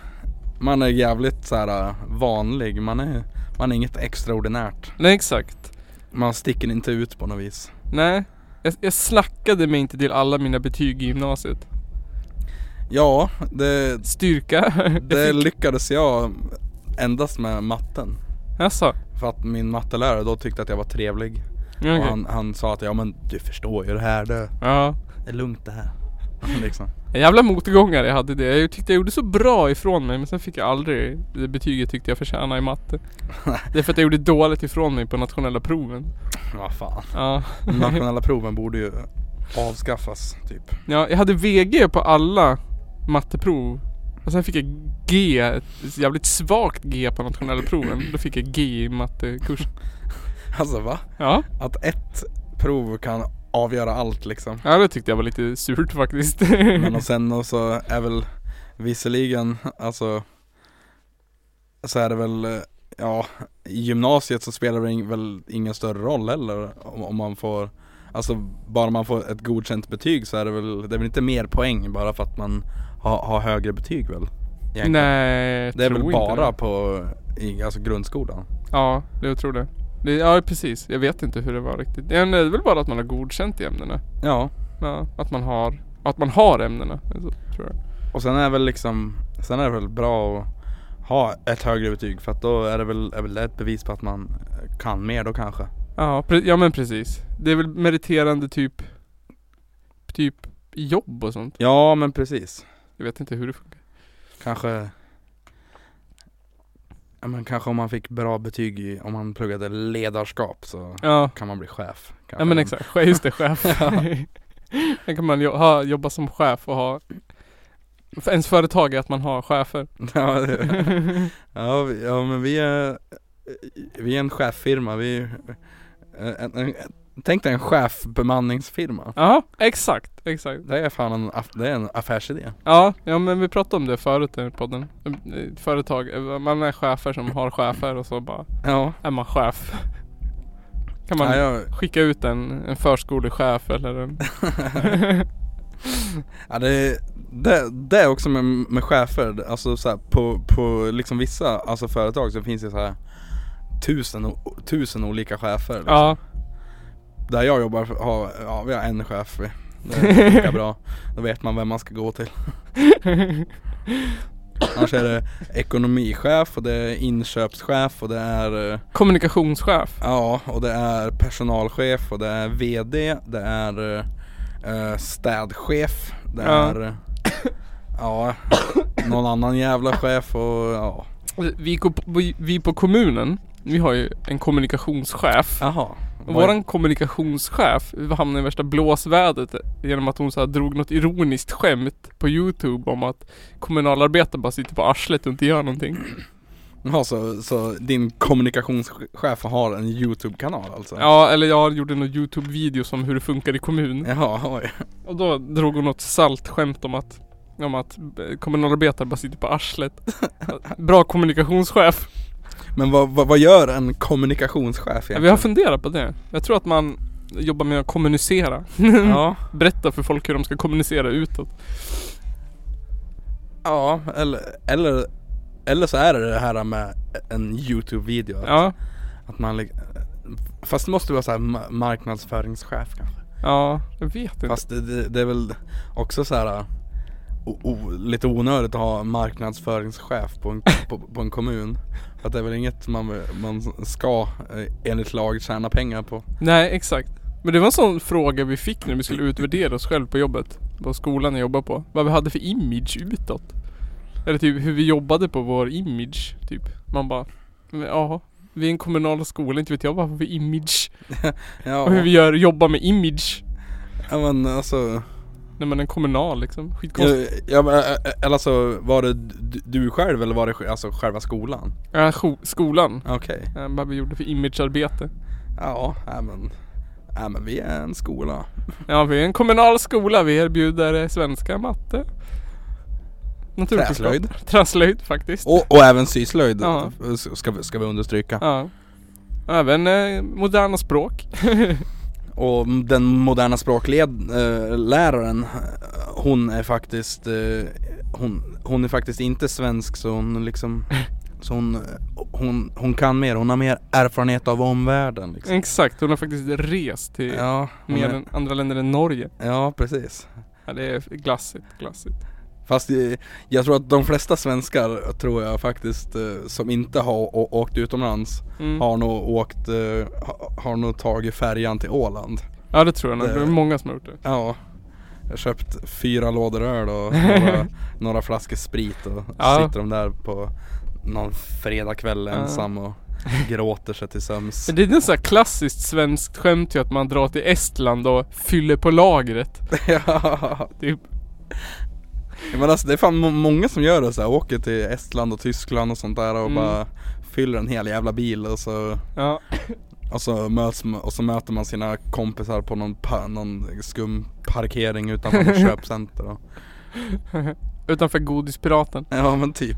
man är jävligt så här vanlig. Man är, man är inget extraordinärt. Nej exakt. Man sticker inte ut på något vis. Nej. Jag, jag slackade mig inte till alla mina betyg i gymnasiet. Ja, det, Styrka. det Jag fick, lyckades jag endast med matten. alltså. För att min mattelärare då tyckte att jag var trevlig. Ja, Och okej. han, han sa att ja men du förstår ju det här det ja. är lugnt det här. liksom. En jävla motgångare jag hade det. Jag tyckte jag gjorde så bra ifrån mig men sen fick jag aldrig det betyget tyckte jag förtjänade i matte. Det är för att jag gjorde dåligt ifrån mig på nationella proven. Vad fan. Ja. Nationella proven borde ju avskaffas typ. ja, jag hade VG på alla matteprov. Och sen fick jag G, ett jävligt svagt G på nationella proven. Då fick jag G i mattekursen. Alltså va? Ja, Att ett prov kan avgöra allt liksom. ja det tyckte jag var lite surt faktiskt. Men alltså, och sen och så är väl visserligen alltså så är det väl eh, ja i gymnasiet så spelar det ing- väl ingen större roll heller om, om man får Alltså bara man får ett godkänt betyg så är det väl, det är väl inte mer poäng bara för att man har, har högre betyg väl? egentligen? Nej, jag Det är tror väl inte bara det. på i, alltså grundskolan? Ja, jag tror det. det. Ja, precis. Jag vet inte hur det var riktigt. Ja, nej, Det är väl bara att man har godkänt i ämnena. Ja, Ja, att man har, att man har ämnena. alltså, Tror jag. och sen är väl liksom, sen är det väl bra att ha ett högre betyg för att då är det väl, är väl det ett bevis på att man kan mer då kanske? Ja, pre- ja men precis. Det är väl meriterande typ, typ jobb och sånt. Ja men precis, Jag vet inte hur det funkar. kanske ja, men kanske om man fick bra betyg i, om man pluggade ledarskap så Ja, kan man bli chef kanske. ja men exakt. Chef- Just det, chef. Sen kan man jo- ha, jobba som chef och ha för Ens företag är att man har chefer. ja, det- ja, vi- ja men vi är, vi är en cheffirma, vi är, en, en, tänk dig en chefbemanningsfirma Ja, exakt, exakt. Det är fan en, aff- det är en affärsidé. Ja, ja men vi pratade om det förut i podden. Eh, Företag, eh, man är chefer som har chefer och så bara Ja. är man chef. Kan man ja jag, skicka ut en, en förskolechef eller en... ja det, det, det är också med, med chefer, alltså så här, på, på liksom vissa alltså företag så finns det så här tusen, o- tusen olika chefer. Liksom. ja, Där jag jobbar har, ja vi har en chef. vi. Det funkar bra. Då vet man vem man ska gå till. Annars är det ekonomichef och det är inköpschef och det är eh, kommunikationschef. Ja, och det är personalchef och det är VD, det är eh, städchef, det Ja. är eh, ja, någon annan jävla chef och ja. Vi, ko- vi, vi på kommunen, vi har ju en kommunikationschef. Jaha. Och Våran kommunikationschef hamnade i värsta blåsvädret genom att hon så här drog något ironiskt skämt på Youtube om att kommunalarbetare bara sitter på arslet och inte gör någonting. Ja, så, så din kommunikationschef har en YouTube-kanal alltså? Ja, eller jag gjorde någon Youtube-video om hur det funkar i kommun. Jaha, oj. Och då drog hon något salt skämt om att om att eh, kommunalarbetare bara sitter på arslet. Bra kommunikationschef. Men vad, vad, vad gör en kommunikationschef Vi har funderat på det. Jag tror att man jobbar med att kommunicera. Ja, Berätta för folk hur de ska kommunicera utåt. ja eller, eller, eller så är det det här med en YouTube-video. Ja, Att man, lik- fast det måste vara så här ma- marknadsföringschef kanske. ja, jag vet inte. Fast det, det, det är väl också så här o, o, lite onödigt att ha marknadsföringschef på en, på, på en kommun. För att det är väl inget man, man ska eh, enligt lag tjäna pengar på. Nej, exakt. Men det var en sån fråga vi fick när vi skulle utvärdera oss själv på jobbet. På skolan jag jobbar på. Vad vi hade för image utåt. Eller typ hur vi jobbade på vår image. Typ. Man bara, men jaha. Vi är en kommunal skola, inte vet jag vad vi har för image. Ja, Och hur vi gör, jobbar med image. ja men alltså Nej men en kommunal liksom. Skitkonstigt. Ja, ja men, ä- ä- eller alltså var det d- du själv eller var det sj- alltså själva skolan? Ja, sjo- skolan. Okej. Ja, vad vi gjorde för imagearbete. Ja, äh, men. Äh, men vi är en skola. Ja, vi är en kommunal skola. Vi erbjuder eh, svenska, matte. Naturvetenskap. Träslöjd. Träslöjd faktiskt. Och, och även syslöjd Ja. s- ska, vi- ska vi understryka. Ja. Även eh, moderna språk. Och den moderna språkläraren hon är faktiskt eh, hon, hon är faktiskt inte svensk så hon liksom så hon, eh, hon, hon kan mer, hon har mer erfarenhet av omvärlden liksom. Exakt, hon har faktiskt rest till Ja, hon mer är- än andra länder än Norge. ja precis. Ja, det är glassigt, glassigt. Fast eh, jag tror att de flesta svenskar tror jag faktiskt eh, som inte har å- åkt utomlands Mm. har nog åkt, eh, ha- har nog tagit färjan till Åland. Ja, det tror jag nog. Det- Det är många som har gjort det. Ja. Jag har köpt fyra lådor öl och några, några flaskor sprit och Ja. sitter de där på någon fredagkväll Ja. ensam och gråter sig till sömns. Men Det är en sån här klassiskt svenskt skämt ju att man drar till Estland och fyller på lagret. ja. Typ. Men alltså det är fan må- många som gör det så här, åker till Estland och Tyskland och sånt där och Mm. bara fyller en hel jävla bil och så Ja. Och så, möts, ma- och så möter man sina kompisar på någon, pa, någon skum parkering utanför något köpcenter och, Utanför godispiraten. Ja men typ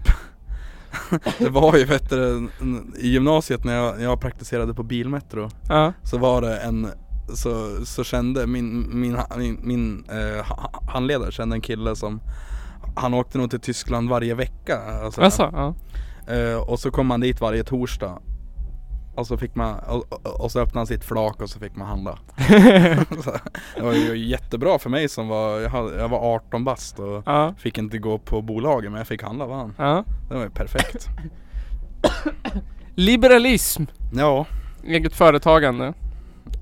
Det var ju vet du, en- i gymnasiet när jag, jag praktiserade på bilmetro Ja. Så var det en Så, så kände min, min, min, min eh, ha- handledare kände en kille som Han åkte nog till Tyskland varje vecka alltså. Alltså, ja. Eh, och så kom man dit varje torsdag Och så fick man, och, och- och så öppnade han sitt flak och så fick man handla Så Det var ju jättebra för mig som var, jag, hade, jag var 18 bast och ja. Fick inte gå på bolaget men jag fick handla van Ja. Det var ju perfekt Liberalism. Ja, Eget företagande.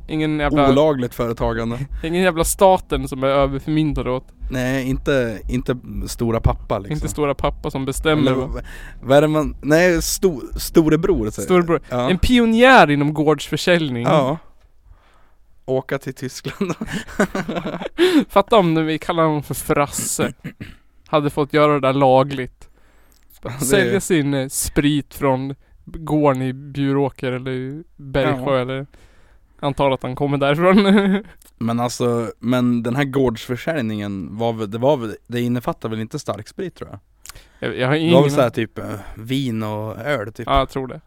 Ingen jävla, olagligt företagande ingen jävla staten som är överförmyndare åt. Nej inte, inte stora pappa liksom Inte stora pappa som bestämmer. Eller, v- vad är det man, nej sto, storebror säger Storbror. ja. En pionjär inom gårdsförsäljning. ja Åka till Tyskland Fatta om när vi kallar honom för Frasse. Hade fått göra det där lagligt. Bara Det är- Sälja sin eh, sprit från gården i Bjuråker eller i Bergsjö eller Antar att han kommer därifrån. Men alltså, men den här gårdsförsäljningen var väl, det var väl, det innefattar väl inte starksprit tror jag? jag, jag har Det var ingen väl såhär typ eh, vin och öl typ Ja jag tror det.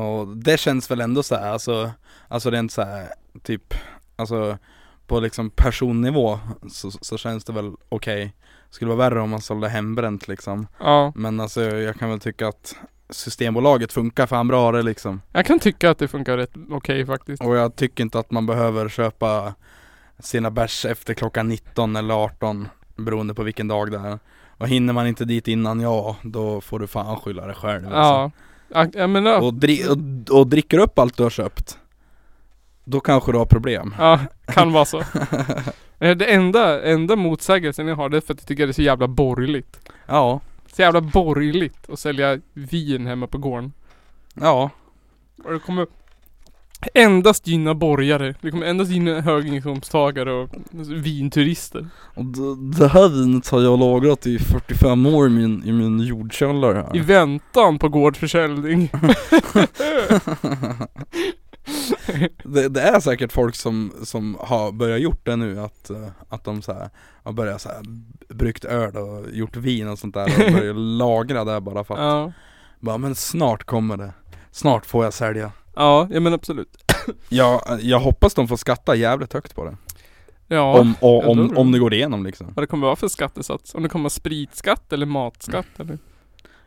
Och det känns väl ändå såhär, alltså, alltså rent såhär typ, alltså på liksom personnivå så, så känns det väl okej Skulle vara värre om man sålde hembränt liksom Ja. Men alltså jag kan väl tycka att Systembolaget funkar fan bra det liksom Jag kan tycka att det funkar rätt okej faktiskt. Och jag tycker inte att man behöver köpa sina bärs efter klockan 19 eller 18 beroende på vilken dag det är. Och hinner man inte dit innan, ja då får du fan skylla dig själv. alltså. Ja. Ja, Jag menar. Och, dri- och, och dricker upp allt du har köpt, då kanske du har problem. Ja, kan vara så. Eh, Det enda, enda motsägelsen jag har det är för att jag tycker det är så jävla borgerligt. Ja, Så jävla borgerligt att sälja vin hemma på gården. ja, Och det kommer endast gynna borgare. Det kommer endast gynna höginkomsttagare och vinturister. och d- det här vinet har jag lagrat i 45 år i min, i min jordkällare I här. väntan på gårdsförsäljning. Det, det är säkert folk som, som har börjat gjort det nu att, eh, att de så här, har börjat så här, bryggt öl och gjort vin och sånt där och börjat lagra det bara för att ja. bara, men snart kommer det Snart får jag sälja ja, ja men absolut. Jag, jag hoppas de får skatta jävligt högt på det Ja. Om, och, jag tror om, det. om det går igenom liksom Vad det kommer vara för skattesats. Om det kommer vara spritskatt eller matskatt eller?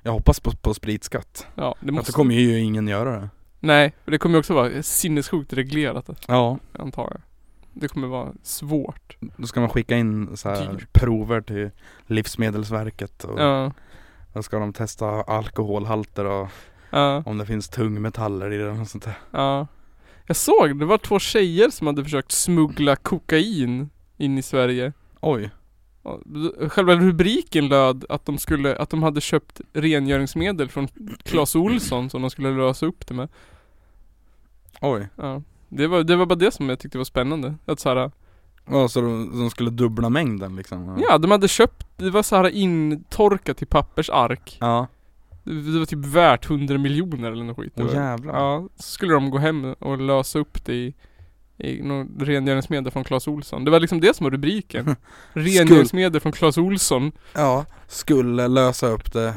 Jag hoppas på, på spritskatt Ja, det Att måste. det kommer ju ingen göra det Nej, för det kommer ju också vara sinnessjukt reglerat Ja antar jag. Det kommer vara svårt. Då ska man skicka in så här Dyrt. prover till Livsmedelsverket och Ja. då ska de testa alkoholhalter och Ja. om det finns tungmetaller i den och sånt där Ja. Jag såg, det var två tjejer som hade försökt smuggla kokain in i Sverige. Oj Ja, Själva rubriken löd att de skulle, att de hade köpt rengöringsmedel från Clas Olsson som de skulle lösa upp det med. Oj, Ja. Det var, det var bara det som jag tyckte var spännande. Att såhär, Ja, så de, de skulle dubbla mängden liksom? Ja, de hade köpt, det var så här intorkat i pappersark. Ja. Det det var typ värt 100 miljoner eller något skit. Det Åh, var- jävlar. Ja, så skulle de gå hem och lösa upp det i, i någon rengöringsmedel från Clas Olsson. Det var liksom det som var rubriken. rengöringsmedel från Clas Olsson. Ja, skulle lösa upp det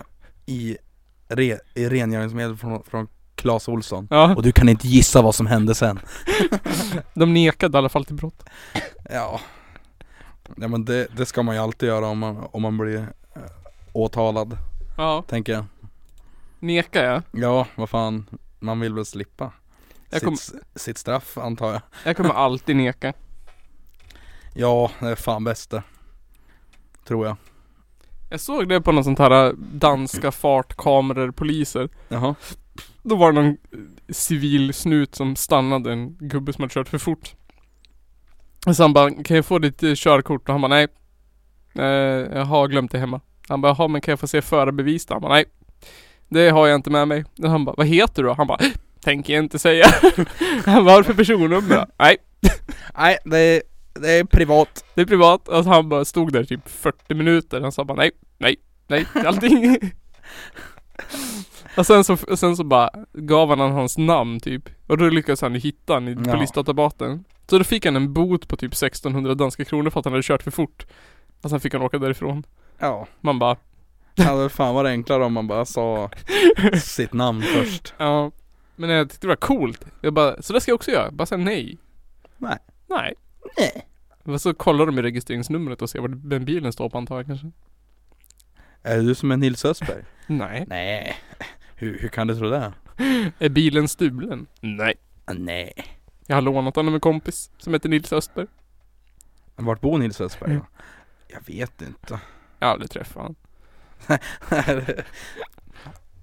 i, re, i rengöringsmedel från, från Clas Olsson. Ja, Och du kan inte gissa vad som hände sen. de nekade i alla fall till brott. Ja. Ja men det, det ska man ju alltid göra om man, om man blir eh, åtalad, Ja, tänker jag. neka ja. Ja, vad fan. Man vill väl slippa Jag sitt, kom- s- sitt straff antar jag. Jag kommer alltid neka. Ja, det är fan bäst det. Tror jag. Jag såg det på någon sånt här äh, danska fartkameror poliser. Jaha. Då var det någon civil snut som stannade en gubbe som hade kört för fort. Och så han bara, kan jag få ditt eh, körkort? Och han bara, nej. Eh, jag har glömt det hemma. Han bara, jaha men kan jag få se förarbevis då? Han bara, nej. Det har jag inte med mig. Och han bara, vad heter du då? Han bara, tänker jag inte säga. han bara, varför personnummer då? Nej, Nej, det är, det är privat. det är privat. Och så han bara stod där i typ 40 minuter. Han sa bara, nej, nej, nej, allting. Och sen så, och sen så bara gav han honom hans namn typ. Och då lyckades han ju hitta honom i Ja. polisdatabasen. Så då fick han en bot på typ 1600 danska kronor för att han hade kört för fort. Och sen fick han åka därifrån. Ja. Man bara, Det hade fan varit enklare om man bara sa sitt namn först. ja. Men jag tyckte det var coolt. Jag bara, så det ska jag också göra. Bara säga nej. Nej. Nej. Nej. Och så kollar de i registreringsnumret och ser var den bilen står på antar jag kanske. Är du som en Nils Östberg? Nej. Nej. Hur, hur kan du tro det? Är bilen stulen? Nej. Nej. Jag har lånat den av en kompis som heter Nils Östberg. Vart bor Nils Östberg då? Jag vet inte. Jag har aldrig träffat honom.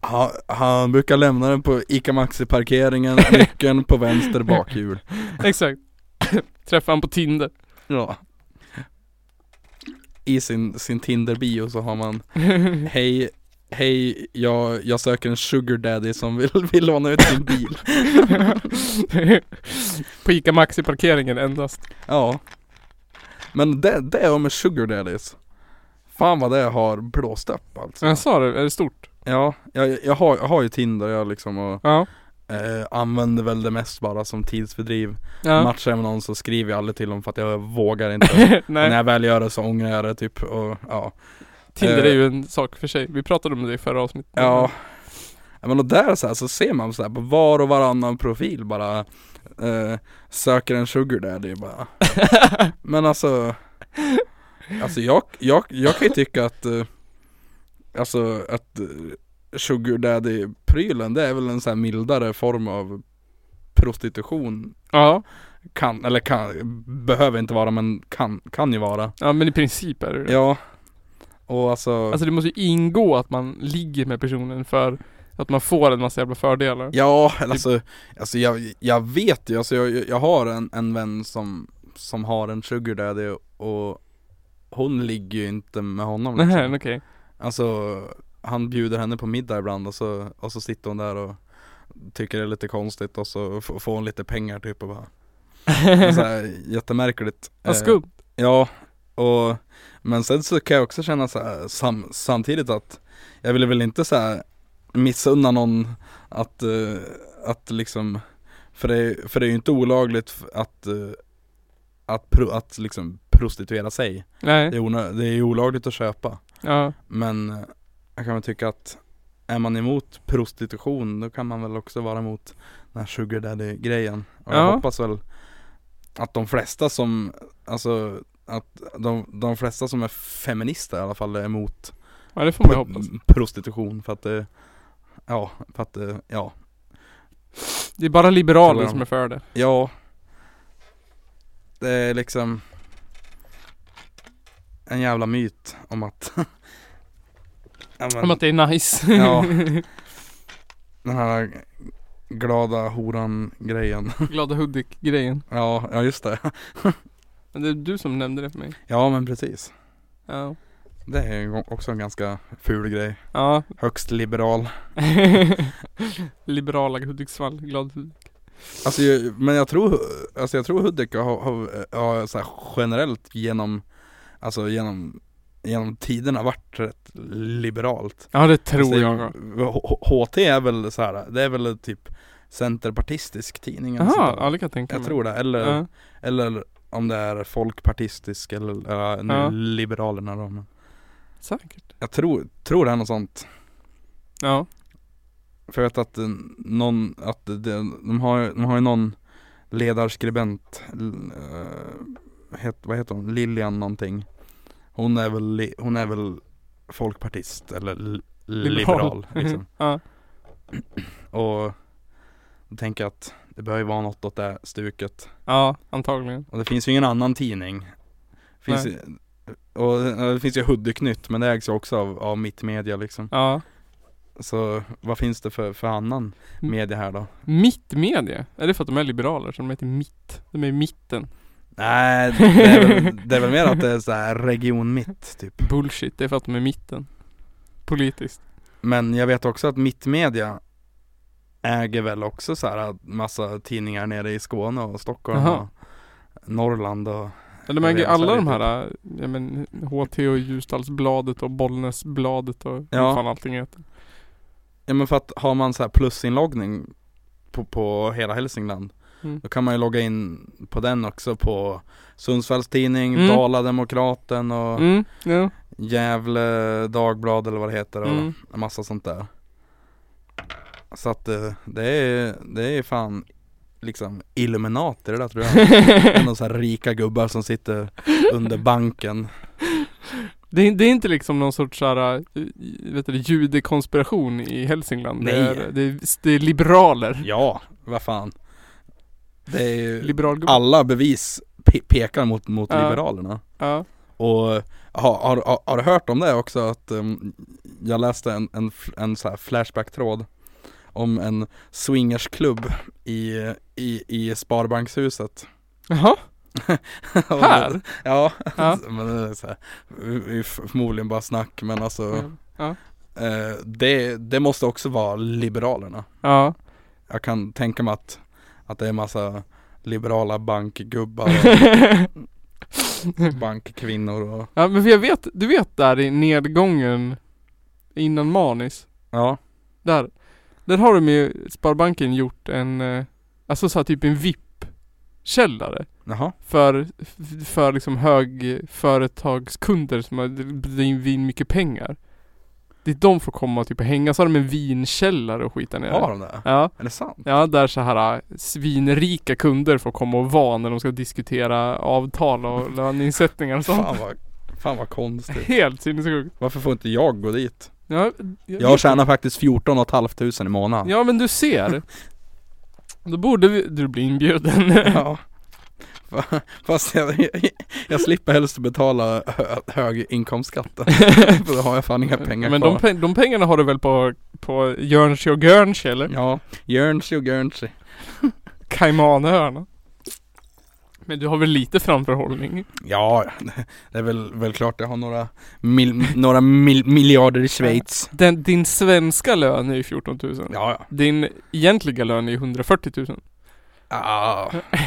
han, han brukar lämna den på ICA Maxi-parkeringen, nyckeln på vänster bakhjul. Exakt. träffade honom på Tinder. Ja. I sin, sin Tinder-bio så har man Hej, hej, jag, jag söker en sugar daddy som vill, vill låna ut sin bil. på Ica Maxi-parkeringen endast. Ja. Men det, det är med sugar daddies. Fan vad det har blåst upp alltså. Jag sa det, är det stort? Ja, jag, jag, har, jag har ju Tinder jag liksom och Ja. eh, använder väl det mest bara som tidsfördriv. ja. Matchar jag med någon så skriver jag aldrig till dem för att jag vågar inte. När Nej, Mm. jag väl gör det så ångrar jag det typ och ja. Tinder är eh. ju en sak för sig. Vi pratade om det i förra avsnittet. Ja Ja, men och där så, här, så ser man så här på var och varannan profil bara eh, Söker en sugar daddy bara Men alltså Alltså jag, jag, jag kan ju tycka att eh, Alltså att eh, sugar daddy prylen det är väl en så här mildare form av prostitution Ja, Kan, eller kan, behöver inte vara men kan, kan ju vara ja men i princip är det det. Ja Och alltså, Alltså det måste ju ingå att man ligger med personen för att man får en massa jävla fördelar. Ja, eller alltså, alltså jag, jag vet ju, alltså jag, jag har en, en vän som, som har en sugar daddy och hon ligger ju inte med honom Nej, liksom. okej. Alltså han bjuder henne på middag ibland och så, och så sitter hon där och tycker det är lite konstigt och så f- får hon lite pengar typ och bara men så här, Jättemärkligt Vad Eh, skumt. Ja, och men sen så kan jag också känna så här, sam, samtidigt att jag ville väl inte så här missunna någon att, eh, att liksom, för det, för det är ju inte olagligt f- att, eh, att, pro, att liksom prostituera sig. Det Nej. är, onö, det är ju olagligt att köpa. Ja. Men eh, jag kan väl tycka att är man emot prostitution då kan man väl också vara emot den här sugar daddy grejen. Och jag Ja. hoppas väl att de flesta som, alltså att de, de flesta som är feminister i alla fall är emot ja, det får man ju pr- hoppas. prostitution för att det, ja, för att det, ja, Det är bara liberaler Förlåt. som är för det. ja. Det är liksom en jävla myt om att Ja, men- Om att det är nice. Ja. Den här glada horan grejen. Glada Hudik-grejen. Ja, ja just det. Men det är du som nämnde det för mig. Ja men precis. Ja. Det är ju också en ganska ful grej. Ja. Högst liberal. Liberala Hudiksvall, glad Hudik. Alltså, jag- men jag tror, alltså jag tror Hudik har, har, har så här generellt genom, alltså genom, genom tiderna varit rätt liberalt. Ja det tror alltså, jag. H- HT är väl så här, det är väl typ centerpartistisk tidning eller sånt Jaha, där. ja det kan jag tänka Jag mig. tror det, eller, Ja. eller om det är folkpartistisk eller, ja, nu Ja. liberalerna då men Säkert. Jag tror, tror det är något sånt Ja. För jag vet att eh, någon, att det, de, har, de har ju någon ledarskribent, l- eh, het, vad heter hon, Lilian någonting Hon är väl, li- hon är väl folkpartist eller l- liberal liksom. ja. Och då tänker jag att det behöver ju vara något åt det stuket ja, antagligen. Och det finns ju ingen annan tidning finns Nej. ju, Och eh, det finns ju Hudik-Nytt men det ägs ju också av, av mitt media liksom Ja. Så vad finns det för, för annan media här då? Mitt media? Är det för att de är liberaler så de heter mitt? De är i mitten. Nej, det är, väl, det är väl mer att det är så här region mitt typ Bullshit, det är för att de är i mitten. Politiskt. Men jag vet också att Mittmedia äger väl också så här massa tidningar nere i Skåne och Stockholm Jaha. och Norrland och Eller Jag men vet, alla jag de vet här, äh, ja men HT och Ljusdalsbladet och Bollnäsbladet och Ja. vad fan allting heter. Ja men för att har man så här plusinloggning på, på hela Hälsingland Mm. Då kan man ju logga in på den också på Sundsvalls Tidning, Mm. Dala-Demokraten och Mm, ja. Gävle Dagblad eller vad det heter och Mm. en massa sånt där Så att eh, det är, det är fan liksom Illuminater det där tror jag Några så här rika gubbar som sitter under banken det, är, det är inte liksom någon sorts såhär, äh, vet du, judekonspiration i Hälsingland. Det Nej. är, det, är, det är liberaler. Ja, vad fan Det är ju Liberalgubbar. alla bevis pe- pekar mot, mot Ja. Liberalerna Ja. Och har, har, har, har du hört om det också att ehm, jag läste en, en, f- en så här flashback-tråd om en swingersklubb i, i, i Sparbankshuset. Jaha, Och- här? Ja, Ja. men det är så här, det är förmodligen bara snack men alltså Ja. eh, det, det måste också vara Liberalerna. Ja. Jag kan tänka mig att, att det är massa liberala bankgubbar och bankkvinnor och Ja men för jag vet, du vet där i nedgången innan Manis, ja, där. Där har de ju, Sparbanken gjort en, eh, alltså så här typ en VIP-källare. jaha, För, f- för liksom hög företagskunder som har drivit in mycket pengar. Det är de får komma och typ hänga, så har de en vinkällare och skita ner. har de det? Ja, Är det sant? ja där så här eh, svinrika kunder får komma och vara när de ska diskutera avtal och löneinsättningar och sånt. Fan typ. vad, fan vad konstigt. Helt sinnessjukt. Varför får inte jag gå dit? Ja, Jag tjänar faktiskt 14 500 i månaden. Ja men du ser. Då borde vi, du bli inbjuden. Ja. Fa- Fast jag, jag slipper helst betala hö, hög inkomstskatt. För då har jag fan inga pengar Men kvar. de, pe- de pengarna har du väl på, på Guernsey och Guernsey eller? Ja, Guernsey och Guernsey. Caymanöarna. Men du har väl lite framförhållning? Ja, det är väl, väl klart jag har några, mil, några mil, miljarder i Schweiz. Den, din svenska lön är ju 14 000. Ja, ja. Din egentliga lön är ju 140 000. Ah, eh,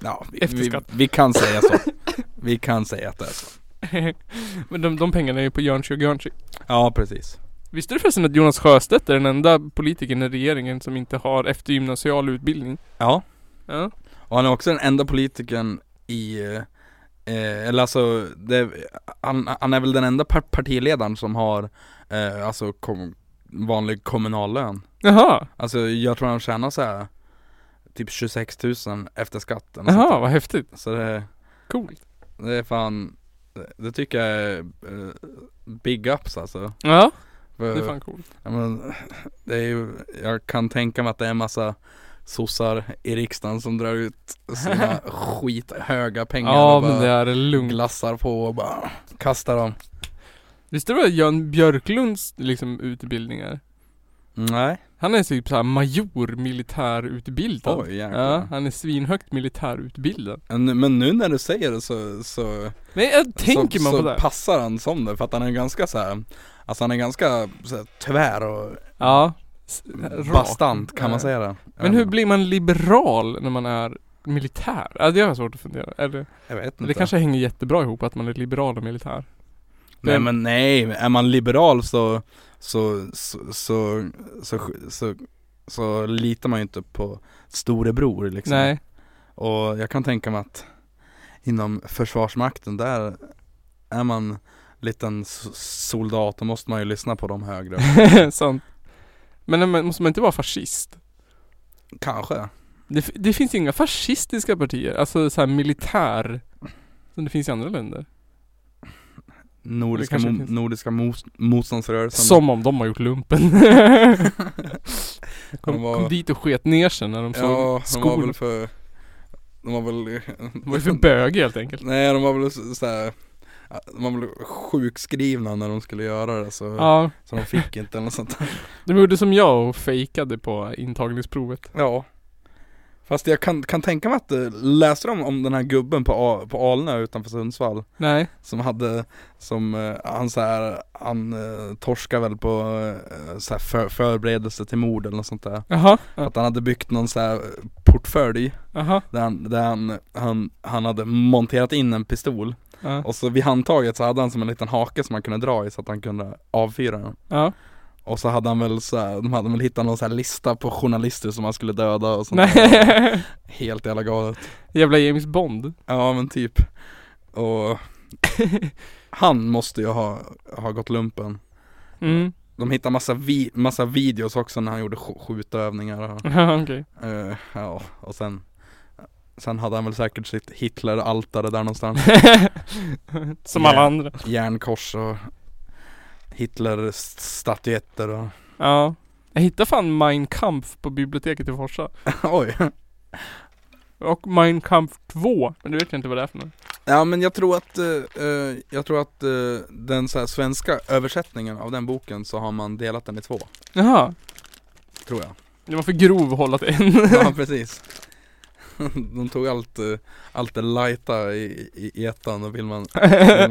ja vi, vi, Efterskatt. vi kan säga så. Vi kan säga att det är så. Men de, de pengarna är ju på Guernsey och Guernsey. Ja, precis. Visste du förresten att Jonas Sjöstedt är den enda politikern i regeringen som inte har eftergymnasial utbildning? Ja. Ja. Och han är också den enda politikern i, eh, eller alltså, det, han, han är väl den enda par- partiledaren som har, eh, alltså kom, vanlig kommunallön. Jaha, Alltså jag tror han tjänar så här typ 26 000 efter skatten. jaha vad häftigt. Så det, Coolt. det är fan, det- det tycker jag är eh, big ups alltså. Ja, det För, är fan coolt. ja, men, det är ju, jag kan tänka mig att det är en massa sossar i riksdagen som drar ut sina skithöga pengar Ja och bara men det är lugnt. glassar på och bara kastar dem. Visste du vad Jan Björklunds liksom utbildning är? Nej. Han är typ såhär major militärutbildad. Oj Ja, jäklar. han är svinhögt militärutbildad. Men men nu när du säger det så, så Men jag tänker så, man så på det? passar han som det för att han är ganska så här. Alltså han är ganska så här, tvär och Ja, s- rak. Bastant, kan man Nej. säga det? Jag Men vet hur inte. blir man liberal när man är militär? Ja, det har jag svårt att fundera. Eller, Jag vet inte. det kanske hänger jättebra ihop att man är liberal och militär. Nej men nej, är man liberal så, så, så, så, så, så, så, litar man ju inte på storebror liksom. Nej. Och jag kan tänka mig att inom försvarsmakten där är man liten s- soldat, då måste man ju lyssna på de högre. Sant. Men, nej, men måste man inte vara fascist? Kanske. Det, f- det finns inga fascistiska partier, alltså så här militär. Som det finns i andra länder. Nordiska, kanske mo- finns. nordiska mos- motståndsrörelsen. Som om de har gjort lumpen. De kom, var- kom dit och sket ner sig när de såg ja, de var skor. väl för... De var väl... De var ju för bögiga helt enkelt. Nej, de var väl så- såhär... De var väl sjukskrivna när de skulle göra det så, Ja, så de fick inte eller något sånt där. de gjorde som jag och fejkade på intagningsprovet. Ja. Fast jag kan, kan tänka mig att, eh, läste de om den här gubben på, A- på Alnö utanför Sundsvall? Nej. Som hade, som eh, han så här, han eh, torskade väl på eh, så här för, förberedelse till mord eller något sånt där. Jaha. Ja. Att han hade byggt någon så här portfölj Jaha. där, han, där han, han, han hade monterat in en pistol Ja. och så vid handtaget så hade han som en liten hake som han kunde dra i så att han kunde avfyra den. ja. Och så hade han väl så här, de hade väl hittat någon så här lista på journalister som han skulle döda och sånt där. Nej. Helt jävla galet. Jävla James Bond. Ja men typ. Och han måste ju ha, ha gått lumpen. Mm. De hittar massa, vi- massa videos också när han gjorde sk- skjutövningar och, Okej. eh, ja, och sen Sen hade han väl säkert sitt Hitler-altare där någonstans som Ja. alla andra. Järnkors och Hitler-statyetter och Ja. Jag hittade fan Mein Kampf på biblioteket i Forsa. Oj Och Mein Kampf 2. Men det vet jag inte vad det är för något. Ja men jag tror att eh, eh, Jag tror att eh, den så här svenska översättningen av den boken så har man delat den i två Jaha. Tror jag Det var för grov att hålla till en. Ja precis De tog allt, eh, allt det lighta i, i, i ettan och vill man Vill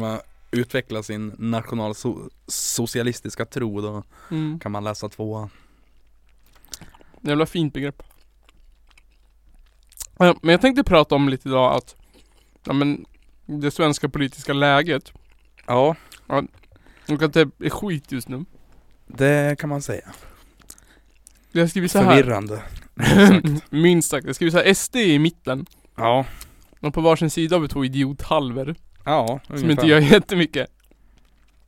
man utveckla sin nationalsocialistiska tro då mm. kan man läsa tvåan. Jävla fint begrepp. Eh, Men jag tänkte prata om lite idag att ja, men det svenska politiska läget Ja, och att det är skit just nu. det kan man säga. Jag skriver så här. Förvirrande. Minst sagt. Jag skriver så här. SD är i mitten. Ja, Och på varsin sida har vi två idiothalver. ja, Som inte gör jättemycket.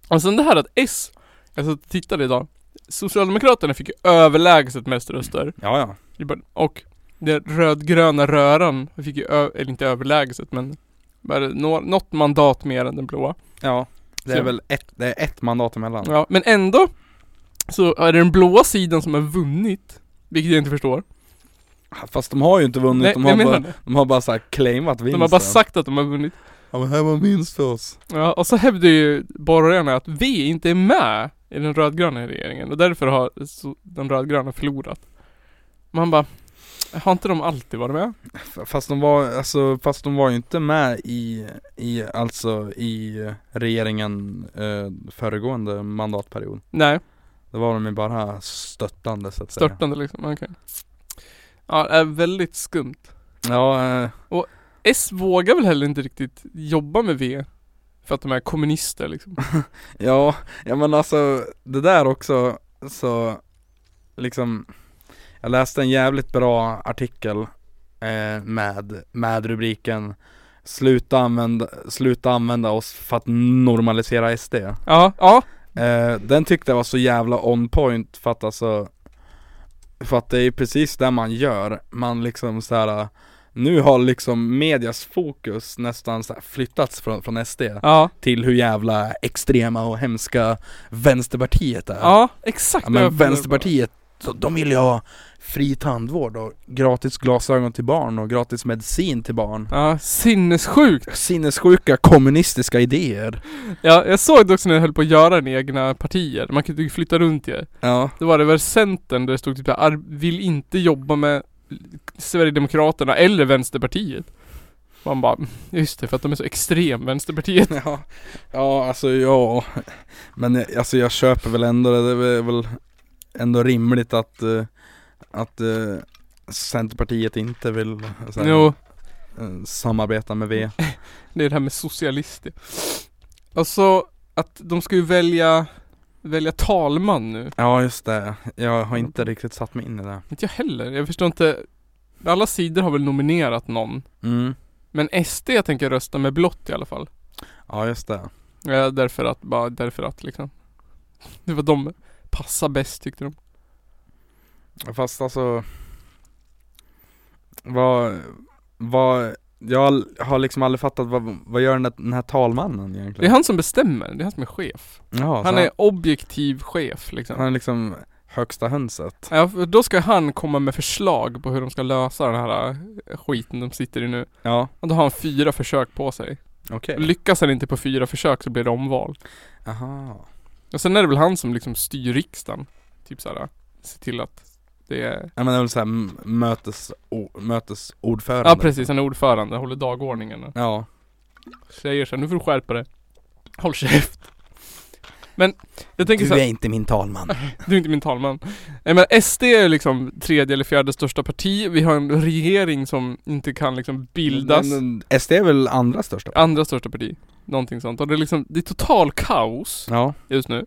Och sen det här att S, jag satt och tittade idag. Socialdemokraterna fick ju överlägset mest röster. Ja, ja. i början. Och den rödgröna röran fick ju, ö- eller inte överlägset men, bara nå- något mandat mer än den blåa. Ja, det är Så- väl ett, det är ett mandat emellan. Ja, men ändå så är det den blåa sidan som har vunnit. Vilket jag inte förstår. Fast de har ju inte vunnit, de, jag har menar bara, det. de har bara så här claimat vinsten. De har bara sagt att de har vunnit. Ja men här var minst för oss. Ja, och så hävdar ju borgarna att vi inte är med i den rödgröna regeringen och därför har så- den rödgröna förlorat. Man bara, har inte de alltid varit med? F- Fast de var, alltså, fast de var ju inte med i, i alltså i regeringen eh, föregående mandatperiod. Nej, Då var de ju bara stöttande så att säga. störtande liksom, okej. Ja, det är väldigt skumt. Ja, eh, S vågar väl heller inte riktigt jobba med V. För att de är kommunister liksom. ja, ja men alltså det där också så liksom Jag läste en jävligt bra artikel eh, med, med rubriken Sluta använda, sluta använda oss för att normalisera SD Ja, ja. eh, Den tyckte jag var så jävla on point för att alltså För att det är precis det man gör, man liksom så här. Nu har liksom medias fokus nästan så här flyttats från, från SD Ja, till hur jävla extrema och hemska Vänsterpartiet är. ja exakt Ja, vad jag men funderar på. Vänsterpartiet, så de vill ju ha fri tandvård och gratis glasögon till barn och gratis medicin till barn. Ja, sinnessjukt. Sinnessjuka kommunistiska idéer. Ja, jag såg det också när jag höll på att göra den i egna partier. Man kunde ju flytta runt ju. Ja, Då var det väl Centern där det stod typ så här, "Ar- vill inte jobba med Sverigedemokraterna eller Vänsterpartiet. Man bara, "Mm, just det för att de är så extrem Vänsterpartiet. ja, ja alltså ja. Men jag- alltså jag köper väl ändå det, det är väl ändå rimligt att, eh, att eh, Centerpartiet inte vill eh, så här, Jo, eh, samarbeta med V. det är det här med socialister. Alltså, att de ska ju välja, välja talman nu. Ja just det, jag har inte riktigt satt mig in i det. Inte jag heller. Jag förstår inte. Alla sidor har väl nominerat någon. Mm. Men SD tänker rösta med blått i alla fall. Ja just det. Ja, därför att, bara därför att liksom. Det var de passar bäst tyckte de. Fast alltså vad, vad, jag har liksom aldrig fattat vad, vad gör den här, den här talmannen Det är egentligen? han som bestämmer, det är han som är chef. Ja, Han är objektiv chef han liksom. är liksom högsta hönset. Ja, för då ska han komma med förslag på hur de ska lösa den här eh, skiten de sitter i nu. Ja, Och då har han fyra försök på sig. okej. Lyckas han inte på fyra försök så blir det omval. Aha. Och sen är det väl han som liksom styr riksdagen. Typ såhär, se till att det är... Ja men det är väl såhär m- mötes, o, mötesordförande. Ja precis, han är ordförande, håller dagordningen. och Ja. Säger såhär, nu får du skärpa dig. Håll käft. Men jag tänker såhär, inte min talman. du är inte min talman. Nej men SD är ju liksom tredje eller fjärde största parti. Vi har en regering som inte kan liksom bildas. Men, men, SD är väl andra största? Andra största parti. Någonting sånt. Och det är liksom, det är total kaos. Ja. just nu.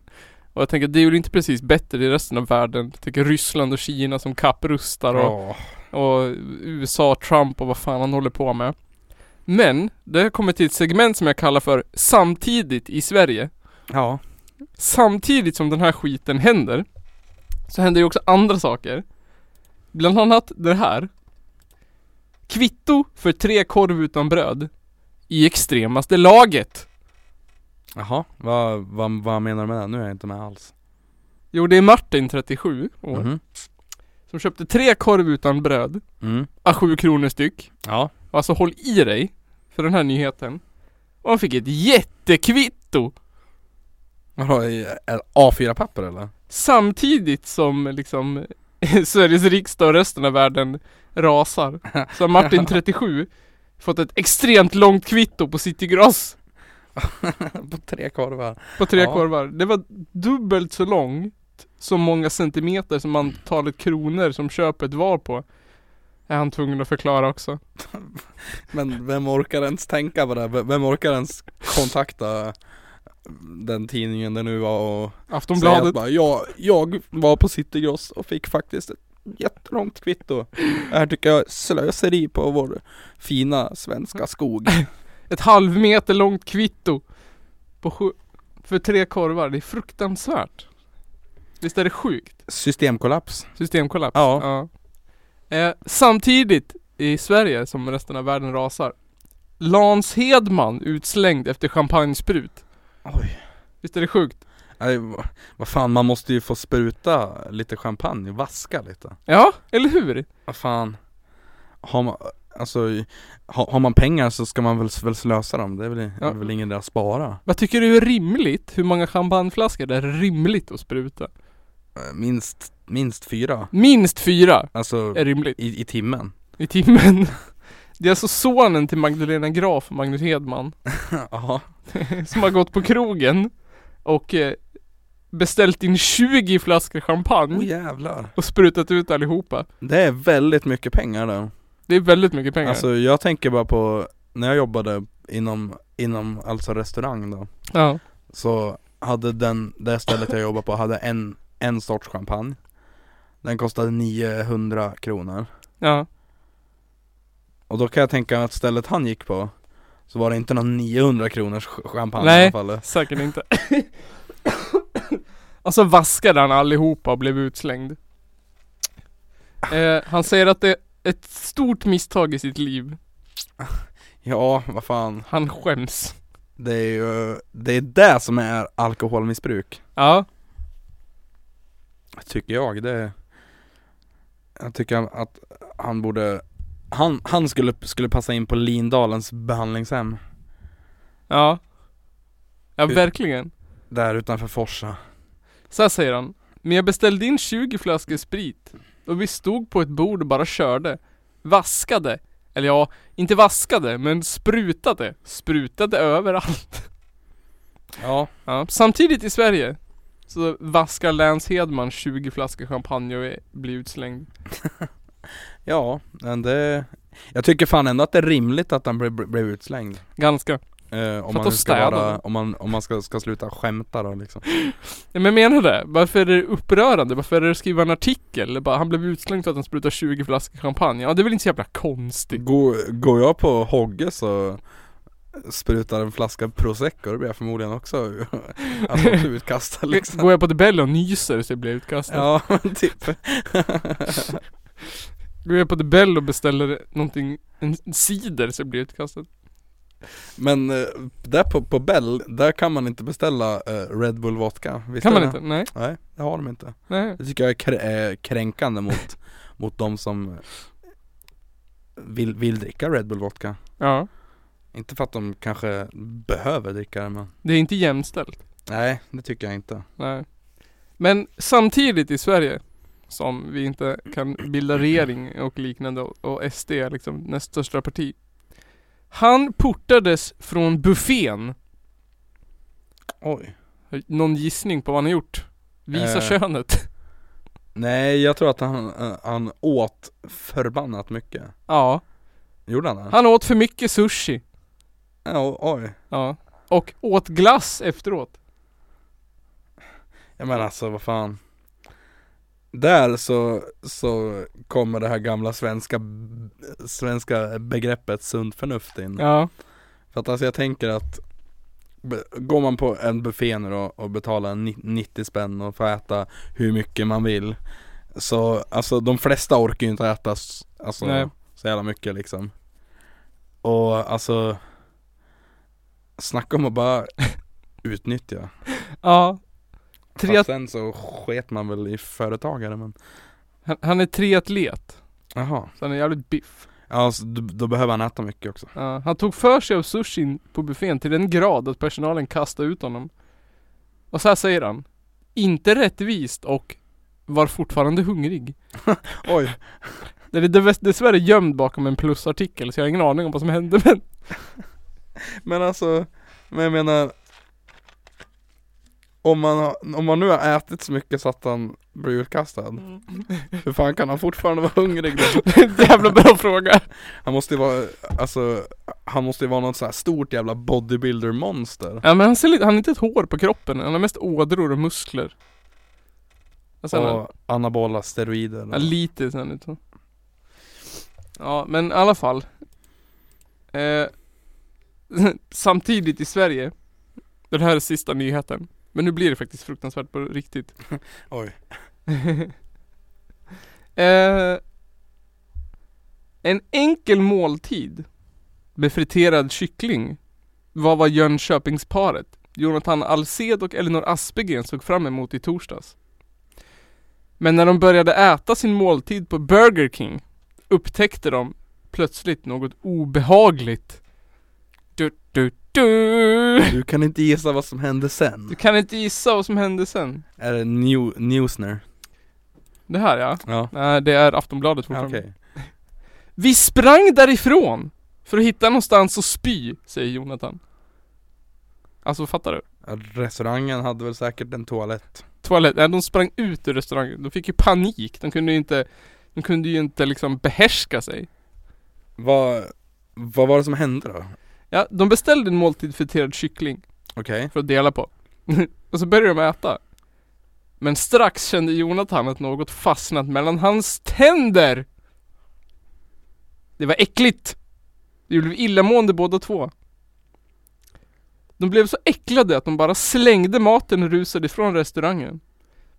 Och jag tänker det är väl inte precis bättre i resten av världen. Jag tänker Ryssland och Kina som kapprustar och, Ja. och USA, Trump och vad fan han håller på med. Men det har kommit till ett segment som jag kallar för samtidigt i Sverige. Ja. Samtidigt som den här skiten händer så händer ju också andra saker. Bland annat det här. Kvitto för tre korv utan bröd i extremaste laget. Jaha, vad vad vad menar du med det? Nu är jag inte med alls. Jo, det är Martin, 37 år, Mhm. som köpte tre korv utan bröd Mm. à 7 kronor styck. Ja. Och Alltså håll i dig för den här nyheten. Och han fick ett jättekvitto! Vadå, i ett A4-papper eller? Samtidigt som liksom Sveriges riksdag och resten av världen rasar. Så har Martin 37 fått ett extremt långt kvitto på City Gross På tre korvar. på tre Ja. korvar. Det var dubbelt så långt så många centimeter som antalet kronor som köpet var på. Är han tvungen att förklara också. Men vem orkar ens tänka på det? V- Vem orkar ens kontakta den tidningen det nu var och säga att Aftonbladet. bara, jag, jag var på Citygross och fick faktiskt ett jättelångt kvitto. Det här tycker jag är slöseri på vår fina svenska skog. ett halvmeter långt kvitto på sju, för tre korvar. Det är fruktansvärt. Visst är det sjukt? Systemkollaps. Systemkollaps. Ja. Ja. Eh, samtidigt i Sverige som resten av världen rasar. Lans Hedman utslängd efter champagnesprut. Oj. Visst är det sjukt? Nej, va- vad fan, man måste ju få spruta lite champagne, vaska lite. Ja, eller hur? Vad fan. Har man, alltså, i- har, har man pengar så ska man väl, väl slösa dem. Det är väl, Ja. är väl ingen idé att spara. Vad tycker du är rimligt? Hur många champagneflaskor det är rimligt att spruta? Eh, Minst, minst fyra. Minst fyra Alltså är rimligt. i, i timmen. i timmen. Det är alltså sonen till Magdalena Graf och Magnus Hedman Jaha. som har gått på krogen och eh, beställt in 20 flaskor champagne Åh jävlar. och sprutat ut allihopa. Det är väldigt mycket pengar då. Det är väldigt mycket pengar. Alltså jag tänker bara på när jag jobbade inom, inom alltså restaurang då ja. Så hade den, det stället jag jobbade på hade en, en sorts champagne Den kostade 900 kronor ja. Och då kan jag tänka mig att stället han gick på Så var det inte någon 900 kronors ch- champagne Nej. i alla fall Säkert inte. och så vaskade han allihopa och blev utslängd. Eh, han säger att det är ett stort misstag i sitt liv. Ja, vad fan Han skäms. Det är ju, det är det som är alkoholmissbruk Ja. Tycker jag, det Jag tycker att han borde Han, han skulle, skulle passa in på Lindalens behandlingshem Ja. Ja, Hur- verkligen. Där utanför Forsa Så här säger han. Men jag beställde in 20 flaskor sprit. Och vi stod på ett bord och bara körde. Vaskade. Eller ja, inte vaskade, men sprutade. Sprutade överallt. Ja Ja. Samtidigt i Sverige Så vaskar Lance Hedman 20 flaskor champagne och är- blir utslängd. Ja, men det... Jag tycker fan ändå att det är rimligt att han blev ble, blev utslängd. Ganska. Eh, om, För att man de nu ska städade. vara, om man, om man ska, ska sluta skämta då liksom. Ja, men jag menar det. Varför är det upprörande? Varför är det att skriva en artikel? Bara, han blev utslängd för att han sprutade 20 flaskor champagne. Ja, det är väl inte så jävla konstigt. Går, går jag på Hogge så sprutar en flaska prosecco, då blir jag förmodligen också alltså, utkastad liksom. Går jag på tabellen och nyser så blir jag utkastad. Ja, men typ. Går jag på tabell och beställer någonting, en cider så blir jag utkastad. Men eh, där på, på Bell, där kan man inte beställa eh, Red Bull Vodka. Visst Kan är man det? inte? Nej. Nej, det har de inte. Nej. Det tycker jag är krä- eh, kränkande mot, mot de som vill, vill dricka Red Bull Vodka. Ja. Inte för att de kanske behöver dricka det men Det är inte jämställt. Nej, det tycker jag inte. Nej. Men samtidigt i Sverige som vi inte kan bilda regering och liknande och- och SD är liksom näst största parti. Han portades från buffén. Oj. Någon gissning på vad han har gjort? Visa Eh. könet. Nej, jag tror att han, eh, han åt förbannat mycket. Ja. Gjorde han det? Han åt för mycket sushi. Ja, oj. Ja. Och åt glass efteråt. Ja men alltså vad fan. Där så, så kommer det här gamla svenska, svenska begreppet sunt förnuft in. Ja. För att alltså jag tänker att be- Går man på en buffé nu då och betalar ni- 90 spänn och får äta hur mycket man vill Så alltså de flesta orkar ju inte äta s- alltså, Nej. så jävla mycket liksom Och alltså Snacka om att bara utnyttja Ja. Tre... Tre, Fast sen så sket man väl i företagare men han, han är triatlet. Jaha Så han är jävligt biff. Ja alltså, då, då behöver han äta mycket också Ja, han tog för sig av sushin på buffén till den grad att personalen kastade ut honom. Och så här säger han. Inte rättvist och var fortfarande hungrig. Oj Den är dess- dessvärre gömd bakom en plusartikel så jag har ingen aning om vad som hände men Men alltså, men jag menar om man, har- om man nu har ätit så mycket så att han blir utkastad, hur fan kan han fortfarande vara hungrig då? Mm. det är en jävla bra fråga. Han måste ju vara, alltså, han måste ju vara något så här stort jävla bodybuilder monster Ja men han ser lite, han har inte ett hår på kroppen. Han har mest ådror och muskler. Och sen har- Och anabola steroider Ja, lite sen utan. Ja, men i alla fall. Eh, samtidigt i Sverige. Det här är sista nyheten. Men nu blir det faktiskt fruktansvärt på riktigt. Oj eh, en enkel måltid med friterad kyckling var vad Jönköpingsparet Jonathan Alsed och Elinor Aspegren såg fram emot i torsdags. Men när de började äta sin måltid på Burger King upptäckte de plötsligt något obehagligt. Du, du, du. Du kan inte gissa vad som hände sen du kan inte gissa vad som hände sen. Är det new, Newsner? Det här ja. Ja, Nej, det är Aftonbladet ja fortfarande. okej Vi sprang därifrån! För att hitta någonstans att spy, säger Jonathan. Alltså fattar du? Ja, Restaurangen hade väl säkert en toalett Toalett, nej de sprang ut ur restaurangen. De fick ju panik. De kunde ju inte, de kunde ju inte liksom behärska sig. Vad, vad var det som hände då? Ja, de beställde en måltid friterad kyckling Okej för att dela på. och så började de äta. Men strax kände Jonathan att något fastnat mellan hans tänder. Det var äckligt. Det blev illamående båda två. De blev så äcklade att de bara slängde maten och rusade ifrån restaurangen.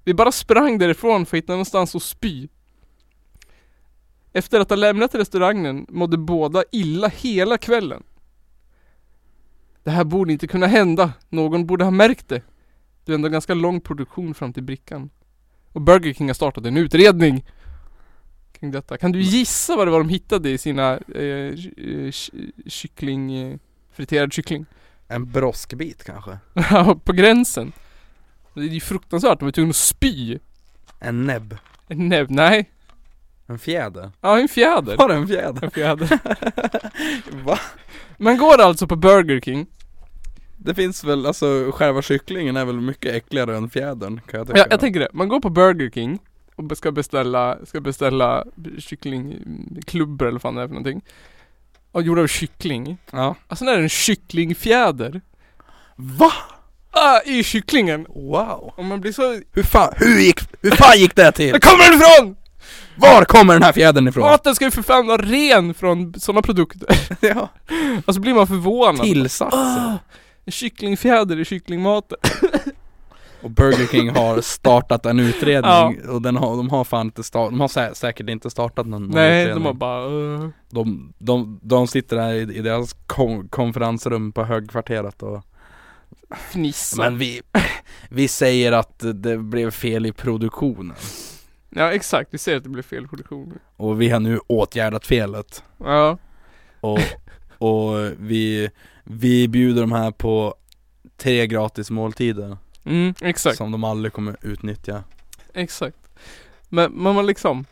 Vi bara sprang därifrån för att hitta någonstans att spy. Efter att ha lämnat restaurangen mådde båda illa hela kvällen. Det här borde inte kunna hända. Någon borde ha märkt det. Det är ändå ganska lång produktion fram till brickan. Och Burger King har startat en utredning kring detta. Kan du gissa vad det var de hittade i sina eh, ky- eh, ky- kyckling, eh, friterad kyckling? En broskbit kanske? Ja, på gränsen. Det är ju fruktansvärt, de var tvungna att spy. En näbb? En näbb, nej. En fjäder? Ja, en fjäder. Var det en fjäder? En fjäder. Va? Man går alltså på Burger King. Det finns väl, alltså själva kycklingen är väl mycket äckligare än fjädern kan jag tycka. Ja, jag tänker det. Man går på Burger King och be- ska beställa, ska beställa kycklingklubbor eller vad fan det är för någonting. Och gjord av kyckling. ja. Och sen är det en kycklingfjäder. Va? Ah, i kycklingen! Wow. Och man blir så... Hur fan, hur gick, hur fan gick det till? Där kommer den ifrån! Var kommer den här fjädern ifrån? Maten ska ju för fan vara ren från sådana produkter. ja. Och så blir man förvånad. Ah. Tillsatser. En kycklingfjäder i kycklingmaten. Och Burger King har startat en utredning och den har, de har fan inte startat, de har sä- säkert inte startat någon, någon Nej, utredning. de har bara... eh. de, de, de sitter där i, i deras kon- konferensrum på högkvarteret och fnissa. Men vi, vi säger att det blev fel i produktionen Ja exakt, vi ser att det blev fel produktion. och vi har nu åtgärdat felet Ja. och, och vi, vi bjuder de här på tre gratis måltider Mm, exakt, som de aldrig kommer utnyttja exakt. Men, men man liksom,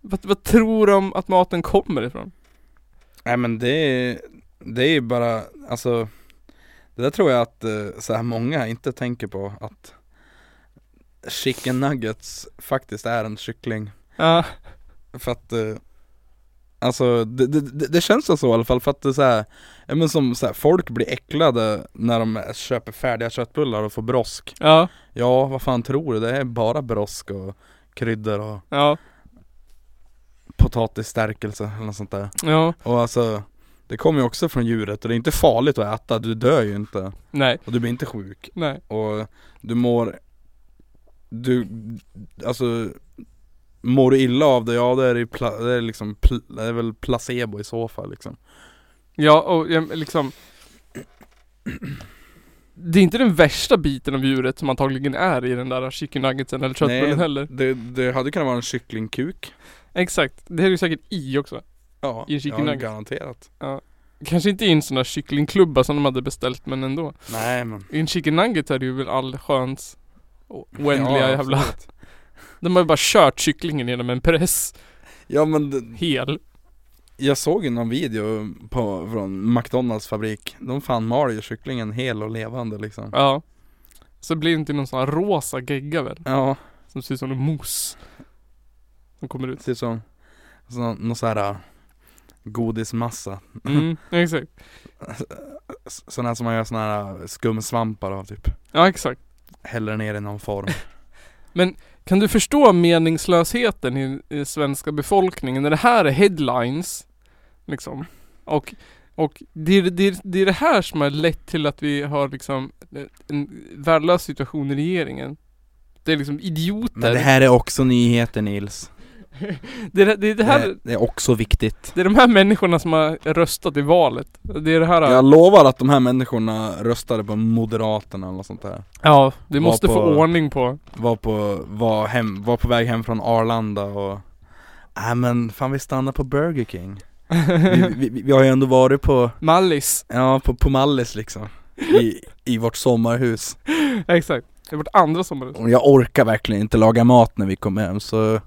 vad, vad tror de att maten kommer ifrån? Nej men det är, det är ju bara, alltså Det där tror jag att eh, så här många inte tänker på att Chicken nuggets faktiskt är en kyckling Ja, För att eh, Alltså det, det, det- det känns så i alla fall för att det är så här, ja, men som så här, folk blir äcklade när de köper färdiga köttbullar och får brosk ja, Ja vad fan tror du, det är bara brosk och kryddor och ja, potatisstärkelse eller något sånt där ja, Och alltså Det kommer ju också från djuret och det är inte farligt att äta, du dör ju inte nej, Och du blir inte sjuk nej, och du mår Du, alltså Mår du illa av det, ja det är, ju pla, det är liksom, pl, det är väl placebo i så fall liksom ja och jag, liksom Det är inte den värsta biten av djuret som antagligen är i den där chicken nuggetsen eller köttbullen Nej. heller Det, det hade kunnat vara en kycklingkuk Exakt, det är ju säkert i också Ja, I en kyckling ja, nugget. garanterat Kanske inte i en sån där kycklingklubba som de hade beställt men ändå Nej men I en chicken nugget är det ju väl all sköns oändliga Ja, jävla absolut. De har ju bara kört cyklingen genom en press Ja men det, hel. jag såg ju någon video på, från McDonalds fabrik De fan mal ju kycklingen hel och levande liksom Ja. Så blir det inte någon sån här rosa gegga väl? Ja, Som ser ut som en mos. Som kommer ut. typ som, som någon sån här äh, godismassa Mm, exakt. Sådana här som man gör sådana här skumsvampar av typ Ja exakt. Häller ner i någon form Kan du förstå meningslösheten i, i svenska befolkningen när det här är headlines? Liksom. Och, och det, är, det, är, det är det här som har lett till att vi har liksom en värdelös situation i regeringen. Det är liksom idioter. Men det här är också nyheter Nils det, är- det, är det här, är också viktigt Det är de här människorna som har röstat i valet. Det är det här... Jag lovar att de här människorna röstade på Moderaterna eller sånt där ja, det måste var på- få ordning på. Var på, var hem, var på väg hem från Arlanda och Nej men fan vi stannar på Burger King vi, vi, vi, vi har ju ändå varit på, Mallis. ja på, på Mallis liksom I, I vårt sommarhus Exakt. Det är vårt andra sommarhus. Och jag orkar verkligen inte laga mat när vi kommer hem så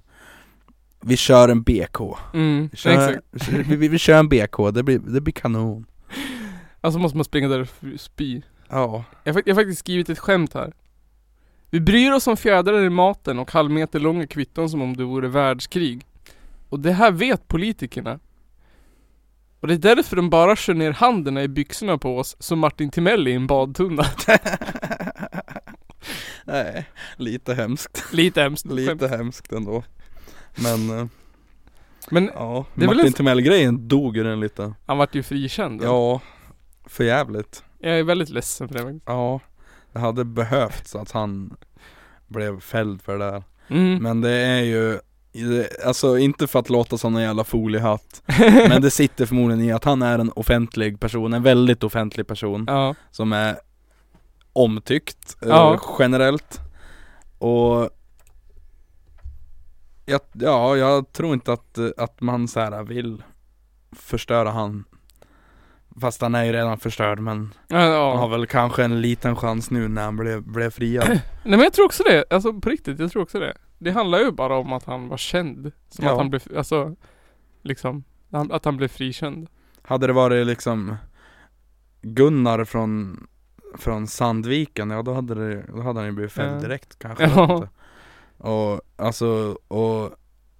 Vi kör en BK Mm, Kör, exakt. vi, vi, vi kör en BK, det blir, det blir kanon Alltså måste man springa där och f- spy. Ja Jag, har fak- jag har faktiskt skrivit ett skämt här. Vi bryr oss om fjädrar i maten och halvmeter långa kvitton som om det vore världskrig. Och det här vet politikerna. Och det är därför de bara kör ner händerna i byxorna på oss som Martin Timell i en badtunna. Nej, lite hemskt Lite hemskt. skämt. Lite hemskt ändå Men, eh, Men ja Det är väl Martin en- Timell-grejen dog ju den lite han vart ju frikänd. Ja, för jävligt Jag är väldigt ledsen för det faktiskt. Ja, det hade behövts att han blev fälld för det där Mm. Men det är ju det- Alltså inte för att låta som en jävla foliehatt Men det sitter förmodligen i att han är en offentlig person, en väldigt offentlig person Ja, Som är omtyckt eh, Ja. generellt Och jag, Ja, jag tror inte att, eh, att man så här vill förstöra han Fast han är ju redan förstörd men ja, han har ja. väl kanske en liten chans nu när han blev, blev friad Nej men jag tror också det, alltså på riktigt, jag tror också det. Det handlar ju bara om att han var känd. Som Ja. att han blev, alltså, liksom, han- att han blev frikänd. Hade det varit liksom Gunnar från från Sandviken, ja då hade, det, då hade han ju blivit fälld Ja. direkt kanske Ja. jag vet inte. Och alltså, och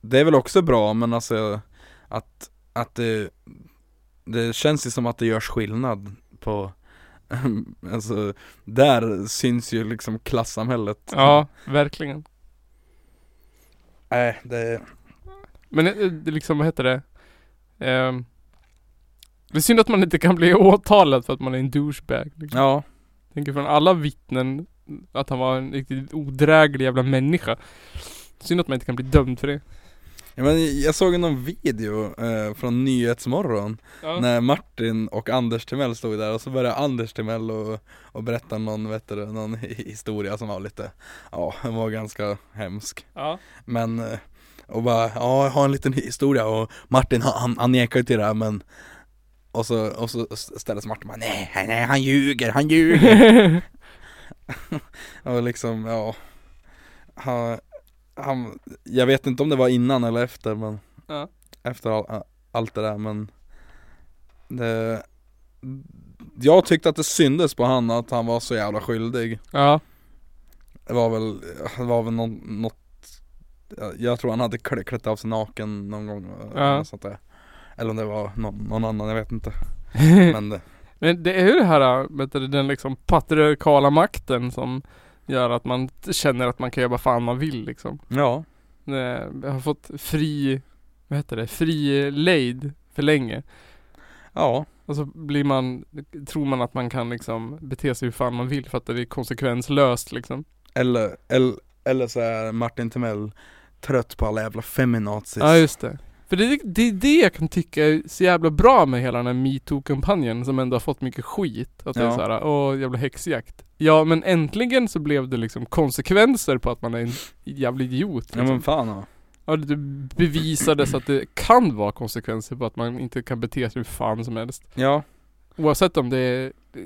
det är väl också bra men alltså att, att det, det känns ju som att det görs skillnad på Alltså, där syns ju liksom klassamhället Ja, verkligen. Nej, det Men eh, det liksom, vad heter det? Ehm, det är synd att man inte kan bli åtalad för att man är en douchebag. Liksom. Ja, Tänker från alla vittnen att han var en riktigt odräglig jävla människa. Synd att man inte kan bli dömd för det. Ja, men jag såg någon video eh, från Nyhetsmorgon Ja. när Martin och Anders Timell stod där och så började Anders Timell och, och berätta någon, vet du, någon hi- historia som var lite, ja, den var ganska hemsk. Ja. Men, eh, och bara, ja, jag har en liten historia och Martin han, han, han nekar ju till det här men och så, och så ställer sig Martin bara, nej, nej, han ljuger, han ljuger. Och liksom, ja. Han, han, jag vet inte om det var innan eller efter men Ja. Efter all, allt det där men det, Jag tyckte att det syndes på han att han var så jävla skyldig ja. Det var väl, det var väl någon, något jag- Jag tror han hade klä- klätt av sig naken någon gång Ja. eller något sånt där. Eller om det var någon, någon annan, jag vet inte Men det, Men det är ju det här, vet du, den liksom patriarkala makten som gör att man t- känner att man kan göra vad fan man vill liksom. ja Eh, Jag har fått fri, vad heter det, fri lejd för länge. Ja Och så blir man, tror man att man kan liksom bete sig hur fan man vill för att det är konsekvenslöst liksom. Eller, eller, eller så är Martin Timell trött på alla jävla feminazis Ja just det. För det, är- det är det jag kan tycka är så jävla bra med hela den här metoo-kampanjen som ändå har fått mycket skit. Att det är Ja. såhär, åh jävla häxjakt. Ja men äntligen så blev det liksom konsekvenser på att man är en jävla idiot. Liksom. Ja men fan ja. Ja, det bevisades att det kan vara konsekvenser på att man inte kan bete sig hur fan som helst. Ja, Oavsett om det är eh,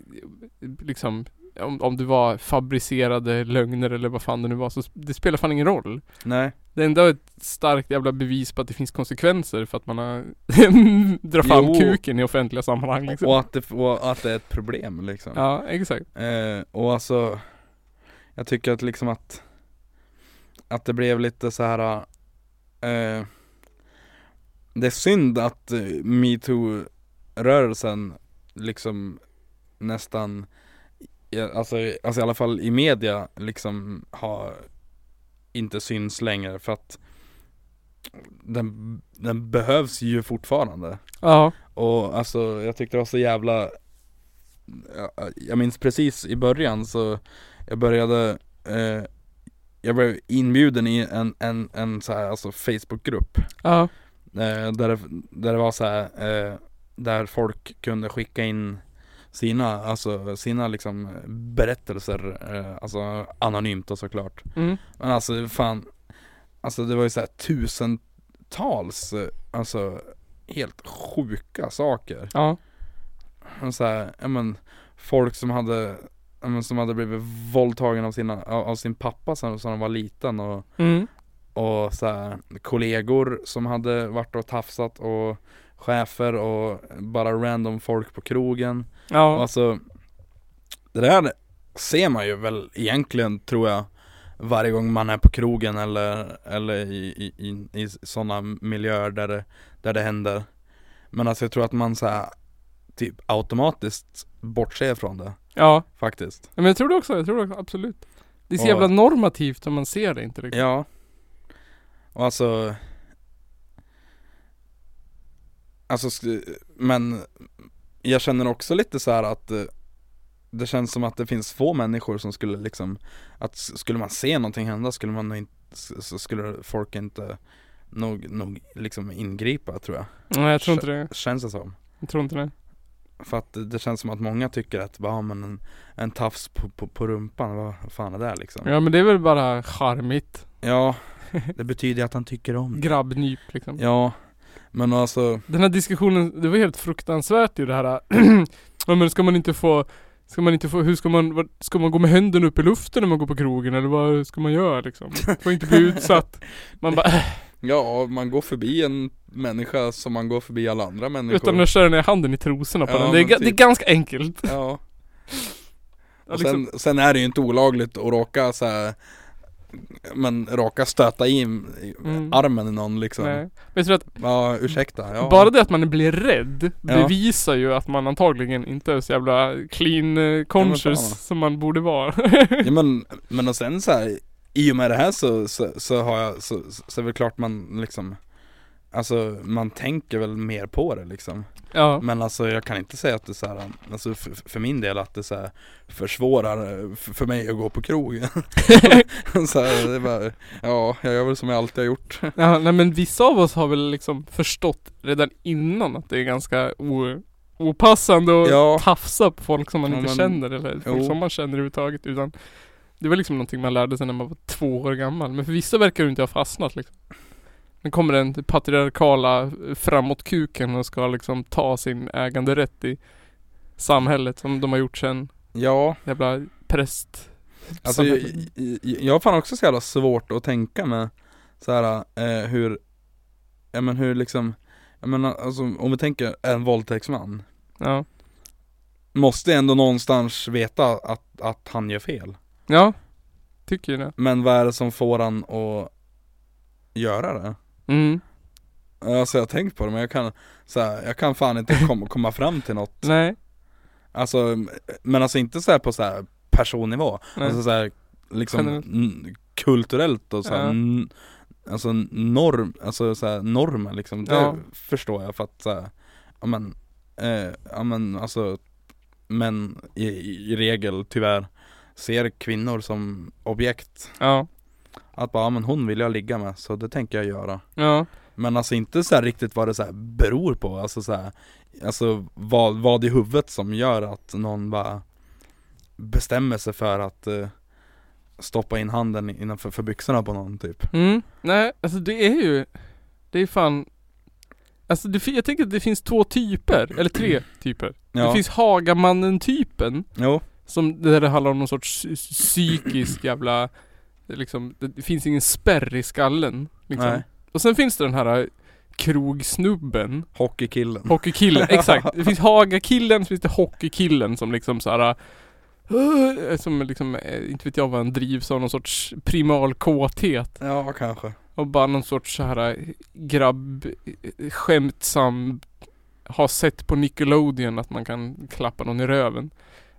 liksom om, om du var fabricerade lögner eller vad fan det nu var så sp- det spelar fan ingen roll. nej. Det är ändå ett starkt jävla bevis på att det finns konsekvenser för att man har drar fram Jo. kuken i offentliga sammanhang liksom. Och att, det, och att det är ett problem liksom. Ja, exakt. Eh, och alltså, jag tycker att liksom att, att det blev lite så här. Eh, det är synd att eh, metoo-rörelsen liksom nästan, ja, alltså, alltså i alla fall i media liksom har inte syns längre för att den, den behövs ju fortfarande. Ja. Och alltså jag tyckte det var så jävla jag, jag minns precis i början så Jag började eh, Jag blev inbjuden i en, en, en så här, alltså Facebookgrupp Ja. eh, där, det, där det var så här, eh, Där folk kunde skicka in sina, alltså sina liksom berättelser eh, Alltså anonymt och såklart Mm. men alltså fan Alltså det var ju såhär tusentals eh, Alltså helt sjuka saker Ja. Och så här, ja men Folk som hade ja, men, som hade blivit våldtagen av, sina, av, av sin pappa som, som de var liten och, Mm. och så här, kollegor som hade varit och tafsat och chefer och bara random folk på krogen Ja. Alltså Det där ser man ju väl egentligen tror jag Varje gång man är på krogen eller, eller i, i, i, i sådana miljöer där det, där det händer Men alltså jag tror att man så här, typ automatiskt bortser från det Ja. faktiskt Men jag tror det också, jag tror det också, absolut. Det är så Och- jävla normativt om man ser det inte riktigt. Ja Och alltså Alltså sk- men Jag känner också lite så här att eh, Det känns som att det finns få människor som skulle liksom Att s- skulle man se någonting hända skulle man nog inte s- Så skulle folk inte Nog, nog liksom ingripa tror jag Nej, jag tror inte det. Känns det som Jag tror inte det. För att det känns som att många tycker att bara "Ja, men en, en tafs på, på, på rumpan Vad fan är det liksom Ja men det är väl bara charmigt. ja Det betyder att han tycker om det Grabbnyp liksom. Ja Men alltså Den här diskussionen, det var helt fruktansvärt ju det här Ja men ska man inte få Ska man inte få, hur ska man, vad- ska man gå med händerna upp i luften när man går på krogen eller vad ska man göra liksom? Får inte bli utsatt. Man bara, äh, Ja, man går förbi en människa som man går förbi alla andra "Äh, människor utan att köra ner handen i trosorna på Ja, den. Det är, men ga- typ. det är ganska enkelt. Ja, Ja, Och liksom, sen, sen är det ju inte olagligt att råka så här, men råka stöta i i Mm. armen i någon liksom. nej. Men jag tror att Ja, ursäkta. Ja. bara det att man blir rädd Ja. bevisar ju att man antagligen inte är så jävla clean eh, conscious fan. som man borde vara. Ja, men, men och sen så här, i och med det här så, så, så har jag, så, så är det klart man liksom Alltså man tänker väl mer på det liksom ja. Men alltså jag kan inte säga att det så här, alltså för, för min del att det så här försvårar eh, för, för mig att gå på krogen så här, det är bara, ja jag gör väl som jag alltid har gjort ja, nej men vissa av oss har väl liksom förstått redan innan att det är ganska o- opassande att Ja. tafsa på folk som man Ja, inte men- känner eller folk Jo. som man känner överhuvudtaget utan det var liksom någonting man lärde sig när man var två år gammal men för vissa verkar det inte ha fastnat liksom. Nu kommer den patriarkala eh, framåtkuken och ska liksom ta sin äganderätt i samhället som de har gjort sen Ja, jävla präst alltså jag, samhället. jag, jag har fan också så jävla svårt att tänka med så här eh, hur, ja men hur liksom jag menar, alltså, om vi tänker en våldtäktsman Ja, Måste ändå någonstans veta att, att han gör fel ja tycker ju det. Men vad är det som får han att göra det? Mm. Alltså jag har tänkt på det men jag kan så här, jag kan fan inte komma, komma fram till något Nej, Alltså, men alltså inte så här på så här personnivå nej. Alltså så här, liksom Generellt. n- kulturellt och så här, Ja. n- Alltså norm, alltså så här, normer liksom Det Ja. förstår jag för att så här, ja men, eh, ja men alltså Män i, i regel tyvärr ser kvinnor som objekt ja. Att bara, ja men hon vill jag ligga med så det tänker jag göra Ja, Men alltså inte så här riktigt vad det så här beror på, alltså så här, Alltså vad, vad i huvudet som gör att någon bara bestämmer sig för att eh, stoppa in handen innanför för byxorna på någon typ mm. nej alltså det är ju Det är fan Alltså det, fi- jag tänker att det finns två typer, eller tre typer Det Ja, finns Hagamannen-typen jo, Som där det handlar om någon sorts psy- psykisk jävla Liksom, det det finns ingen spärr i skallen liksom. Nej. Och sen finns det den här eh, krogsnubben hockeykillen Hockeykillen, exakt. Det finns Hagakillen, så finns det Hockeykillen som liksom såhär eh, som liksom, eh, inte vet jag vad han drivs av, någon sorts primal kåthet. Ja kanske Och bara någon sorts så här eh, grabb, eh, skämtsam, har sett på Nickelodeon att man kan klappa någon i röven.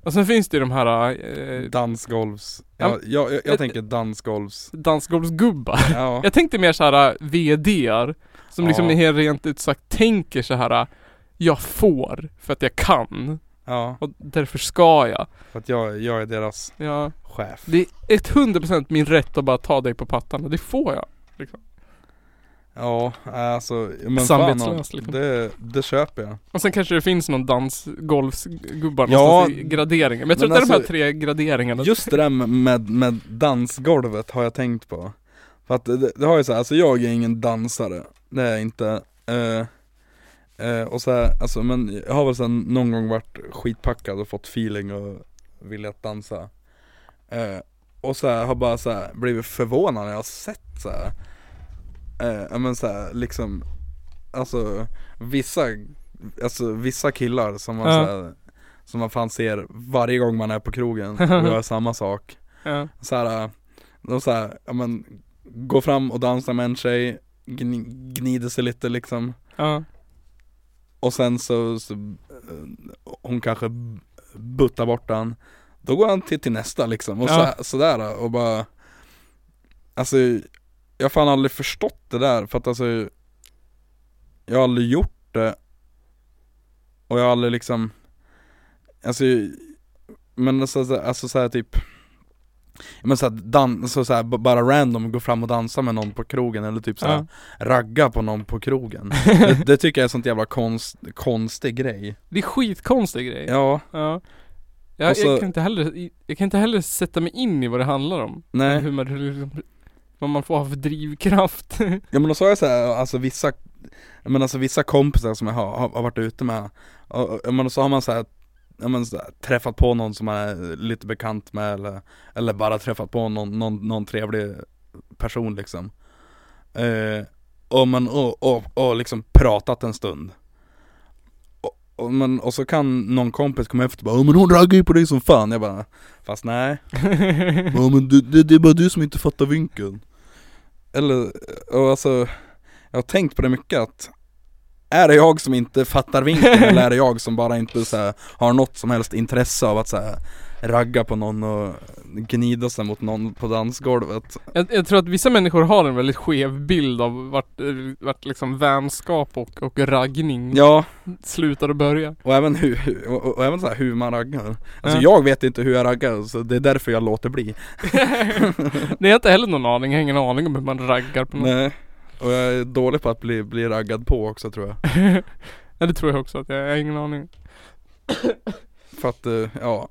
Och sen finns det ju de här eh, Dansgolvs, Ja, Eh, ja, jag, jag, ett- jag tänker dansgolvs dansgolvsgubbar. Ja, Jag tänkte mer så här eh, VDR som liksom Ja. helt rent ut sagt tänker så här eh, jag får för att jag kan ja, och därför ska jag. för att jag, jag är deras Ja, chef det är 100% min rätt att bara ta dig på pattan och det får jag. Ja, alltså, men fan Samvetslöst, liksom. det, det köper jag Och sen kanske det finns någon dansgolvsgubbar Ja, någonstans i graderingen. Men jag tror men att det är de här alltså- tre graderingarna. Just det där med, med, med dansgolvet har jag tänkt på. För att det, det har ju så här, alltså jag är ingen dansare, det är jag inte. Eh, eh, och så här, alltså men jag har väl sen någon gång varit skitpackad och fått feeling och velat dansa. Eh, och så här, har bara så här, blivit förvånad när jag har sett så här. Eh, ja, men så här, liksom, alltså vissa, alltså vissa killar som man Ja. så här, som man fan ser varje gång man är på krogen och gör samma sak Ja. så här, eh, de så här, ja men Går fram och dansar med en tjej gni, Gnider sig lite liksom Ja. Och sen så, så eh, Hon kanske b- buttar bort han Då går han till, till nästa liksom och Ja. så, sådär och bara Alltså Jag har fan aldrig förstått det där för att alltså Jag har aldrig gjort det Och jag har aldrig liksom Alltså Men alltså, så- alltså såhär typ men såhär, dan- så såhär, b- bara random gå fram och dansa med någon på krogen eller typ såhär, Ja. ragga på någon på krogen det, det tycker jag är sånt jävla konst, konstig grej Det är skitkonstig grej. Ja. Ja, Jag, Och så- jag, kan inte heller, jag kan inte heller sätta mig in i vad det handlar om. nej Hur man, hur liksom, vad man får ha för drivkraft. Ja men då sa jag så här, alltså vissa Men alltså vissa kompisar som jag har, har, har varit ute med och, och, ja, men så har man så här, ja, men så här, träffat på någon som man är lite bekant med eller, eller bara träffat på någon, någon, någon trevlig person liksom eh, och, man, och, och, och liksom pratat en stund och, och, men, och så kan någon kompis komma efter och bara "Ja, men hon raggar ju på dig som fan Jag bara Fast nej Ja men du, det, det är bara du som inte fattar vinkeln Eller, och alltså Jag har tänkt på det mycket att Är det jag som inte fattar vinkeln eller är det jag som bara inte så här, har något som helst intresse av att så här, ragga på någon och gnida sig mot någon på dansgolvet? jag, jag tror att vissa människor har en väldigt skev bild av vart, eh, vart liksom vänskap och, och raggning Ja, slutar och börjar. och även hur, och, och, och även så här, hur man raggar Alltså Ja. jag vet inte hur jag raggar så det är därför jag låter bli Nej jag har inte heller någon aning, jag har ingen aning om hur man raggar på något. Nej. Nej, och jag är dålig på att bli, bli raggad på också tror jag det tror jag också att jag, jag har ingen aning. För att, eh, ja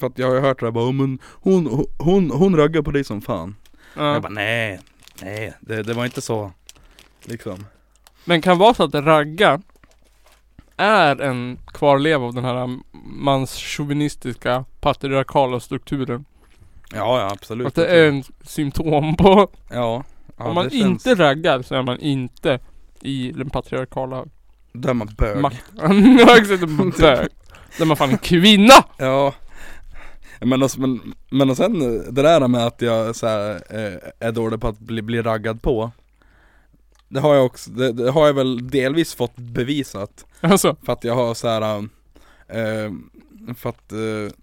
För att jag har ju hört det där bara, "Ja, men hon, hon, hon, hon raggar på dig som fan Ja. Jag bara nej, nej det, det var inte så Liksom Men kan vara så att ragga är en kvarleva av den här manschauvinistiska patriarkala strukturen. Ja ja absolut Att det är en symptom på Ja, ja Om man det känns- inte raggar så är man inte i den patriarkala Då är man bög makten. Ja exakt, man bög. Då är man fan en kvinna! Ja men, alltså, men, men och sen eh, det där med att jag så här, eh, är dålig på att bli, bli raggad på Det har jag också, det, det har jag väl delvis fått bevisat Alltså, För att jag har så här. um, eh, För att eh,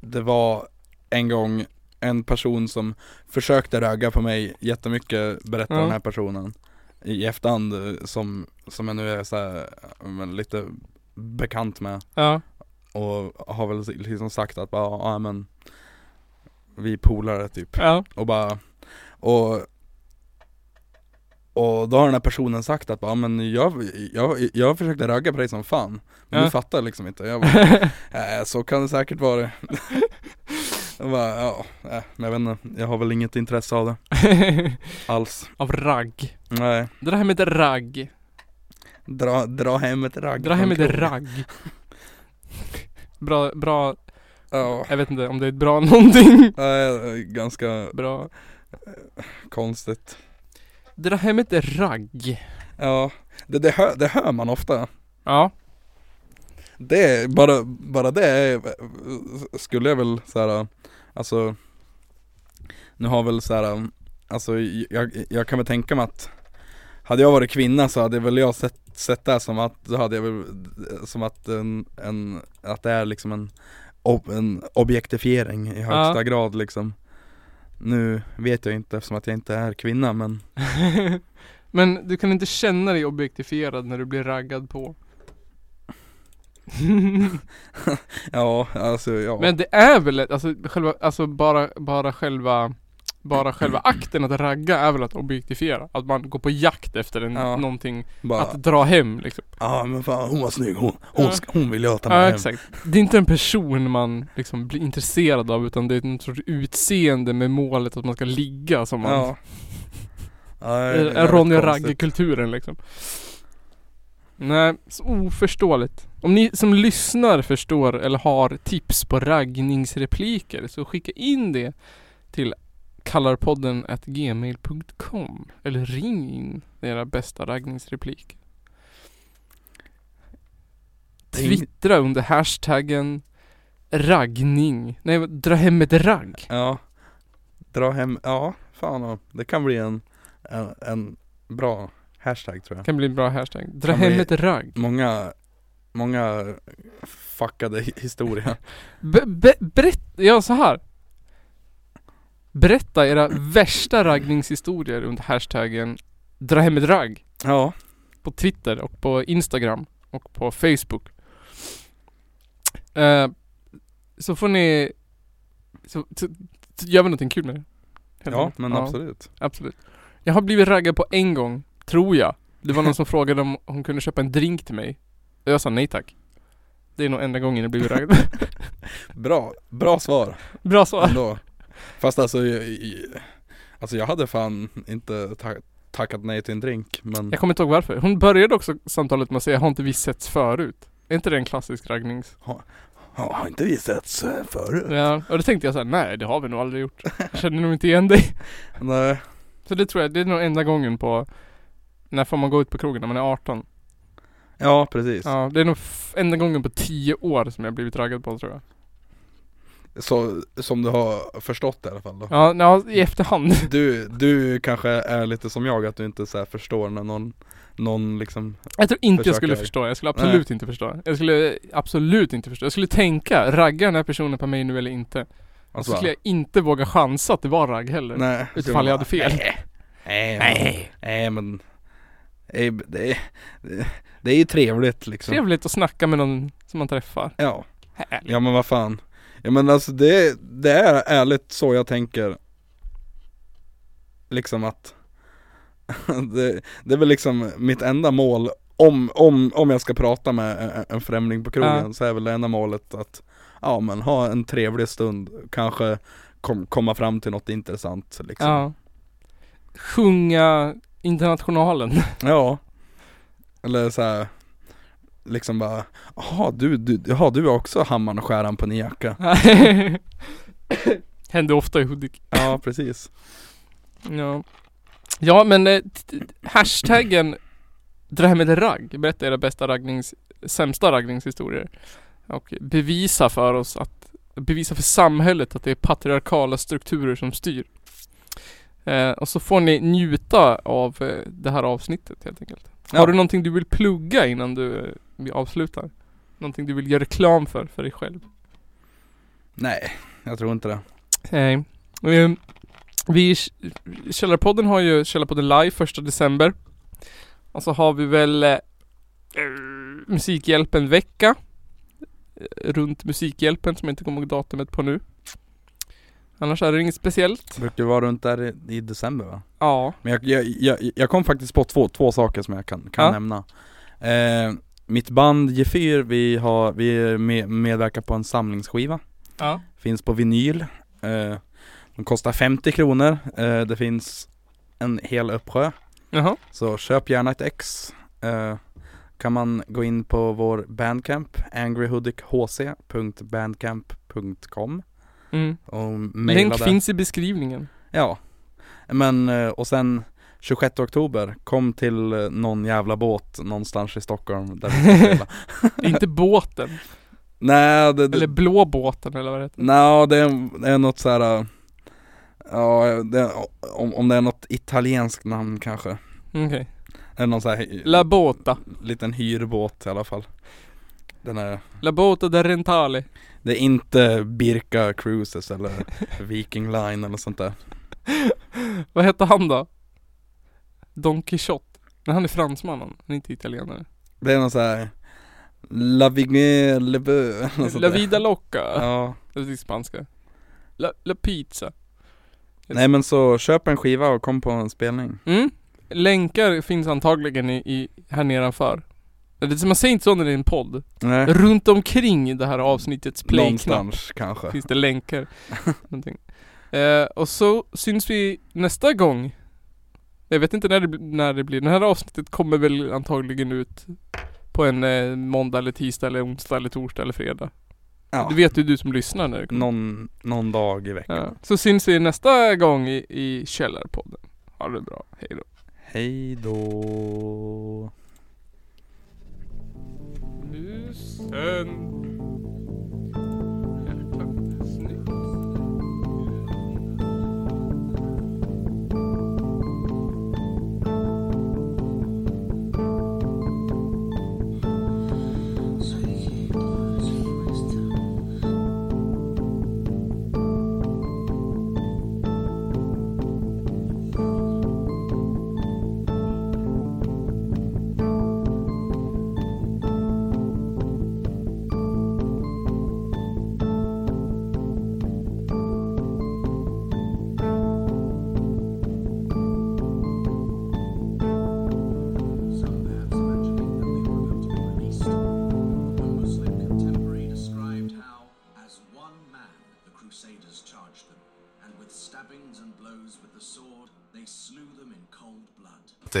det var en gång en person som försökte ragga på mig jättemycket berättar Ja. den här personen I i efterhand eh, som, som jag nu är så här, eh, men lite bekant med ja. Och har väl liksom sagt att bara, ja men Vi är polare typ ja. och bara Och Och då har den här personen sagt att bara, men jag, jag, jag försökte ragga på dig som fan Men Ja. du fattar liksom inte Jag bara, äh, så kan det säkert vara Jag bara, ja, äh, men jag vet inte Jag har väl inget intresse av det alls Av ragg. Nej Det där här med ett ragg. Dra, dra hem ett ragg Det där här från med ett krogen. ragg. Bra, bra. Ja, Jag vet inte om det är ett bra någonting. äh, ganska Bra. konstigt Det där här med ett ragg. Ja, det, det, hör, det hör man ofta Ja. Det, är- bara, bara det är, skulle jag väl såhär, alltså Nu har väl såhär, alltså jag, jag kan väl tänka mig att Hade jag varit kvinna så hade väl jag sett, sett det här som att, då hade jag väl, som att en, en att det är liksom en, ob, en objektifiering i högsta Ja. grad liksom Nu vet jag inte eftersom att jag inte är kvinna men Men du kan inte känna dig objektifierad när du blir raggad på. ja, alltså ja Men det är väl ett, alltså, själva, alltså bara, bara själva bara själva akten att ragga är väl att objektifiera? Att man går på jakt efter en, Ja. någonting, bara, att dra hem liksom. Ja men fan hon var snygg hon, hon, Ja. ska, hon vill jag ta med Ja hem exakt. Det är inte en person man liksom blir intresserad av utan det är en sorts utseende med målet att man ska ligga som man Ja. Ja, det Är- är jävligt Eh, Ronny och konstigt. Ragge-kulturen liksom. Nej, så oförståeligt. Om ni som lyssnar förstår eller har tips på raggningsrepliker så skicka in det till kallarpodden at gmail.com eller ring in era bästa raggningsrepliker. Ring- Twittra under hashtaggen raggning. Nej, vad- dra hem ett ragg. Ja. Dra hem, ja fan ja. det kan bli en, en, en bra hashtag tror jag Kan bli en bra hashtag. Dra Kan hem bli- ett ragg. Många, många fuckade hi- historia Be- be- berätt, ja så här. Berätta era värsta raggningshistorier under hashtaggen Dra hem ett ragg Ja, på Twitter och på Instagram och på Facebook. Eh, så får ni... Så, så, så gör vi någonting kul med det. Helt ja enkelt. men absolut absolut. Jag har blivit raggad på en gång, tror jag. Det var någon som frågade om hon kunde köpa en drink till mig. Och jag sa nej tack. Det är nog enda gången jag blivit raggad. Bra, bra svar Bra svar. ändå Fast alltså, jag, alltså jag hade fan inte ta- tackat nej till en drink men Jag kommer inte ihåg varför. Hon började också samtalet med att säga har inte vi setts förut? Är inte det en klassisk raggnings? Ja, har inte vi setts eh, förut? Ja, och då tänkte jag såhär, nej det har vi nog aldrig gjort. Jag känner nog inte igen dig. Nej, Så det tror jag, det är nog enda gången på när får man gå ut på krogen när man är 18? Ja, precis. Ja, det är nog f- enda gången på tio år som jag blivit raggad på tror jag. Så, som du har förstått i alla fall då. Ja, ja i efterhand. Du, du kanske är lite som jag, att du inte så här förstår när någon, någon liksom Jag tror inte jag skulle Försöker. förstå, jag skulle absolut inte förstå. Jag skulle absolut inte förstå. Jag skulle tänka, raggar den här personen på mig nu eller inte? Och så bara, skulle jag inte våga chansa att det var ragg heller. Alltså. Nej, Utifall jag hade fel. Nej, nej, nej men nej, men det, är- det, det är ju trevligt liksom Trevligt att snacka med någon som man träffar. Ja, Härligt. ja men vad fan Ja men alltså det, det är ärligt så jag tänker Liksom att det, det är väl liksom mitt enda mål om, om, om jag ska prata med en- en främling på krogen Ja. så är väl det enda målet att Ja men ha en trevlig stund, kanske kom, komma fram till något intressant liksom Ja. Sjunga Internationalen. Ja Eller så här Liksom bara, jaha du, du, jaha, du har också hammaren och skäran på din jacka Händer ofta i Hudik. Ja precis Ja. Ja men eh, t- t- hashtaggen Det här med ragg. Berätta era bästa raggnings, sämsta raggningshistorier. Och bevisa för oss att Bevisa för samhället att det är patriarkala strukturer som styr. Eh, och så får ni njuta av eh, det här avsnittet helt enkelt. Ja. Har du någonting du vill plugga innan du eh, vi avslutar? Någonting du vill göra reklam för, för dig själv? Nej, jag tror inte det Nej. Ehm, Vi, Källarpodden har ju Källarpodden live första december. Och så har vi väl eh, Musikhjälpen vecka. eh, Runt Musikhjälpen som jag inte kommer ihåg datumet på nu. Annars är det inget speciellt. Brukar vara runt där i, i december va? Ja. Men jag, jag, jag, jag kom faktiskt på två, två saker som jag kan, kan Ja. nämna eh, Mitt band Gefyr, vi, har, vi med, medverkar på en samlingsskiva Ja. Finns på vinyl eh, De kostar 50 kronor, eh, det finns en hel uppsjö Jaha. Så köp gärna ett ex. Eh, kan man gå in på vår bandcamp, angryhoodichc.bandcamp.com Mm. och mejla Länk där. finns i beskrivningen. Ja. Men, eh, och sen 26 oktober, kom till eh, någon jävla båt någonstans i Stockholm där vi ska spela. inte båten. Nej, det, det, Eller blå båten eller vad det heter. Nå, det, är, det är något så här. eh, Ja, det, om, om det är något italienskt namn kanske. Okej. Eller någon så här La båta. liten hyrbåt i alla fall. Den är, La båta del rentale. det är inte Birka Cruises eller Viking Line eller sånt där. Vad hette han då? Don Quixote. Men han är fransman han, han är inte italienare. Det är någon så här La Vigne Le Beu, något sånt La där. vida loca. Ja. Det är spanska. La, la pizza. Typ. Nej men så köp en skiva och kom på en spelning. Mm. Länkar finns antagligen i, i här nedanför. Det- Man säger inte så när det är en podd. Nej. Runt omkring det här avsnittets play-knapp Typ. Någonstans kanske. finns det länkar. Någonting. Eh, och så syns vi nästa gång. Jag vet inte när det, bli- när det blir. Det här avsnittet kommer väl antagligen ut på en eh, måndag eller tisdag eller onsdag eller torsdag eller fredag. Ja. Det vet ju du som lyssnar när det kommer. Någon, någon dag i veckan. Ja. Så syns vi nästa gång i, i Källarpodden. Ha det bra, hejdå. Hej då. Musen. Jäklar, snyggt. Some maps mentioning that they were built to be released. One Muslim contemporary described how, as one man, the Crusaders charged them, and with stabbings and blows with the sword, they slew them in cold blood. Det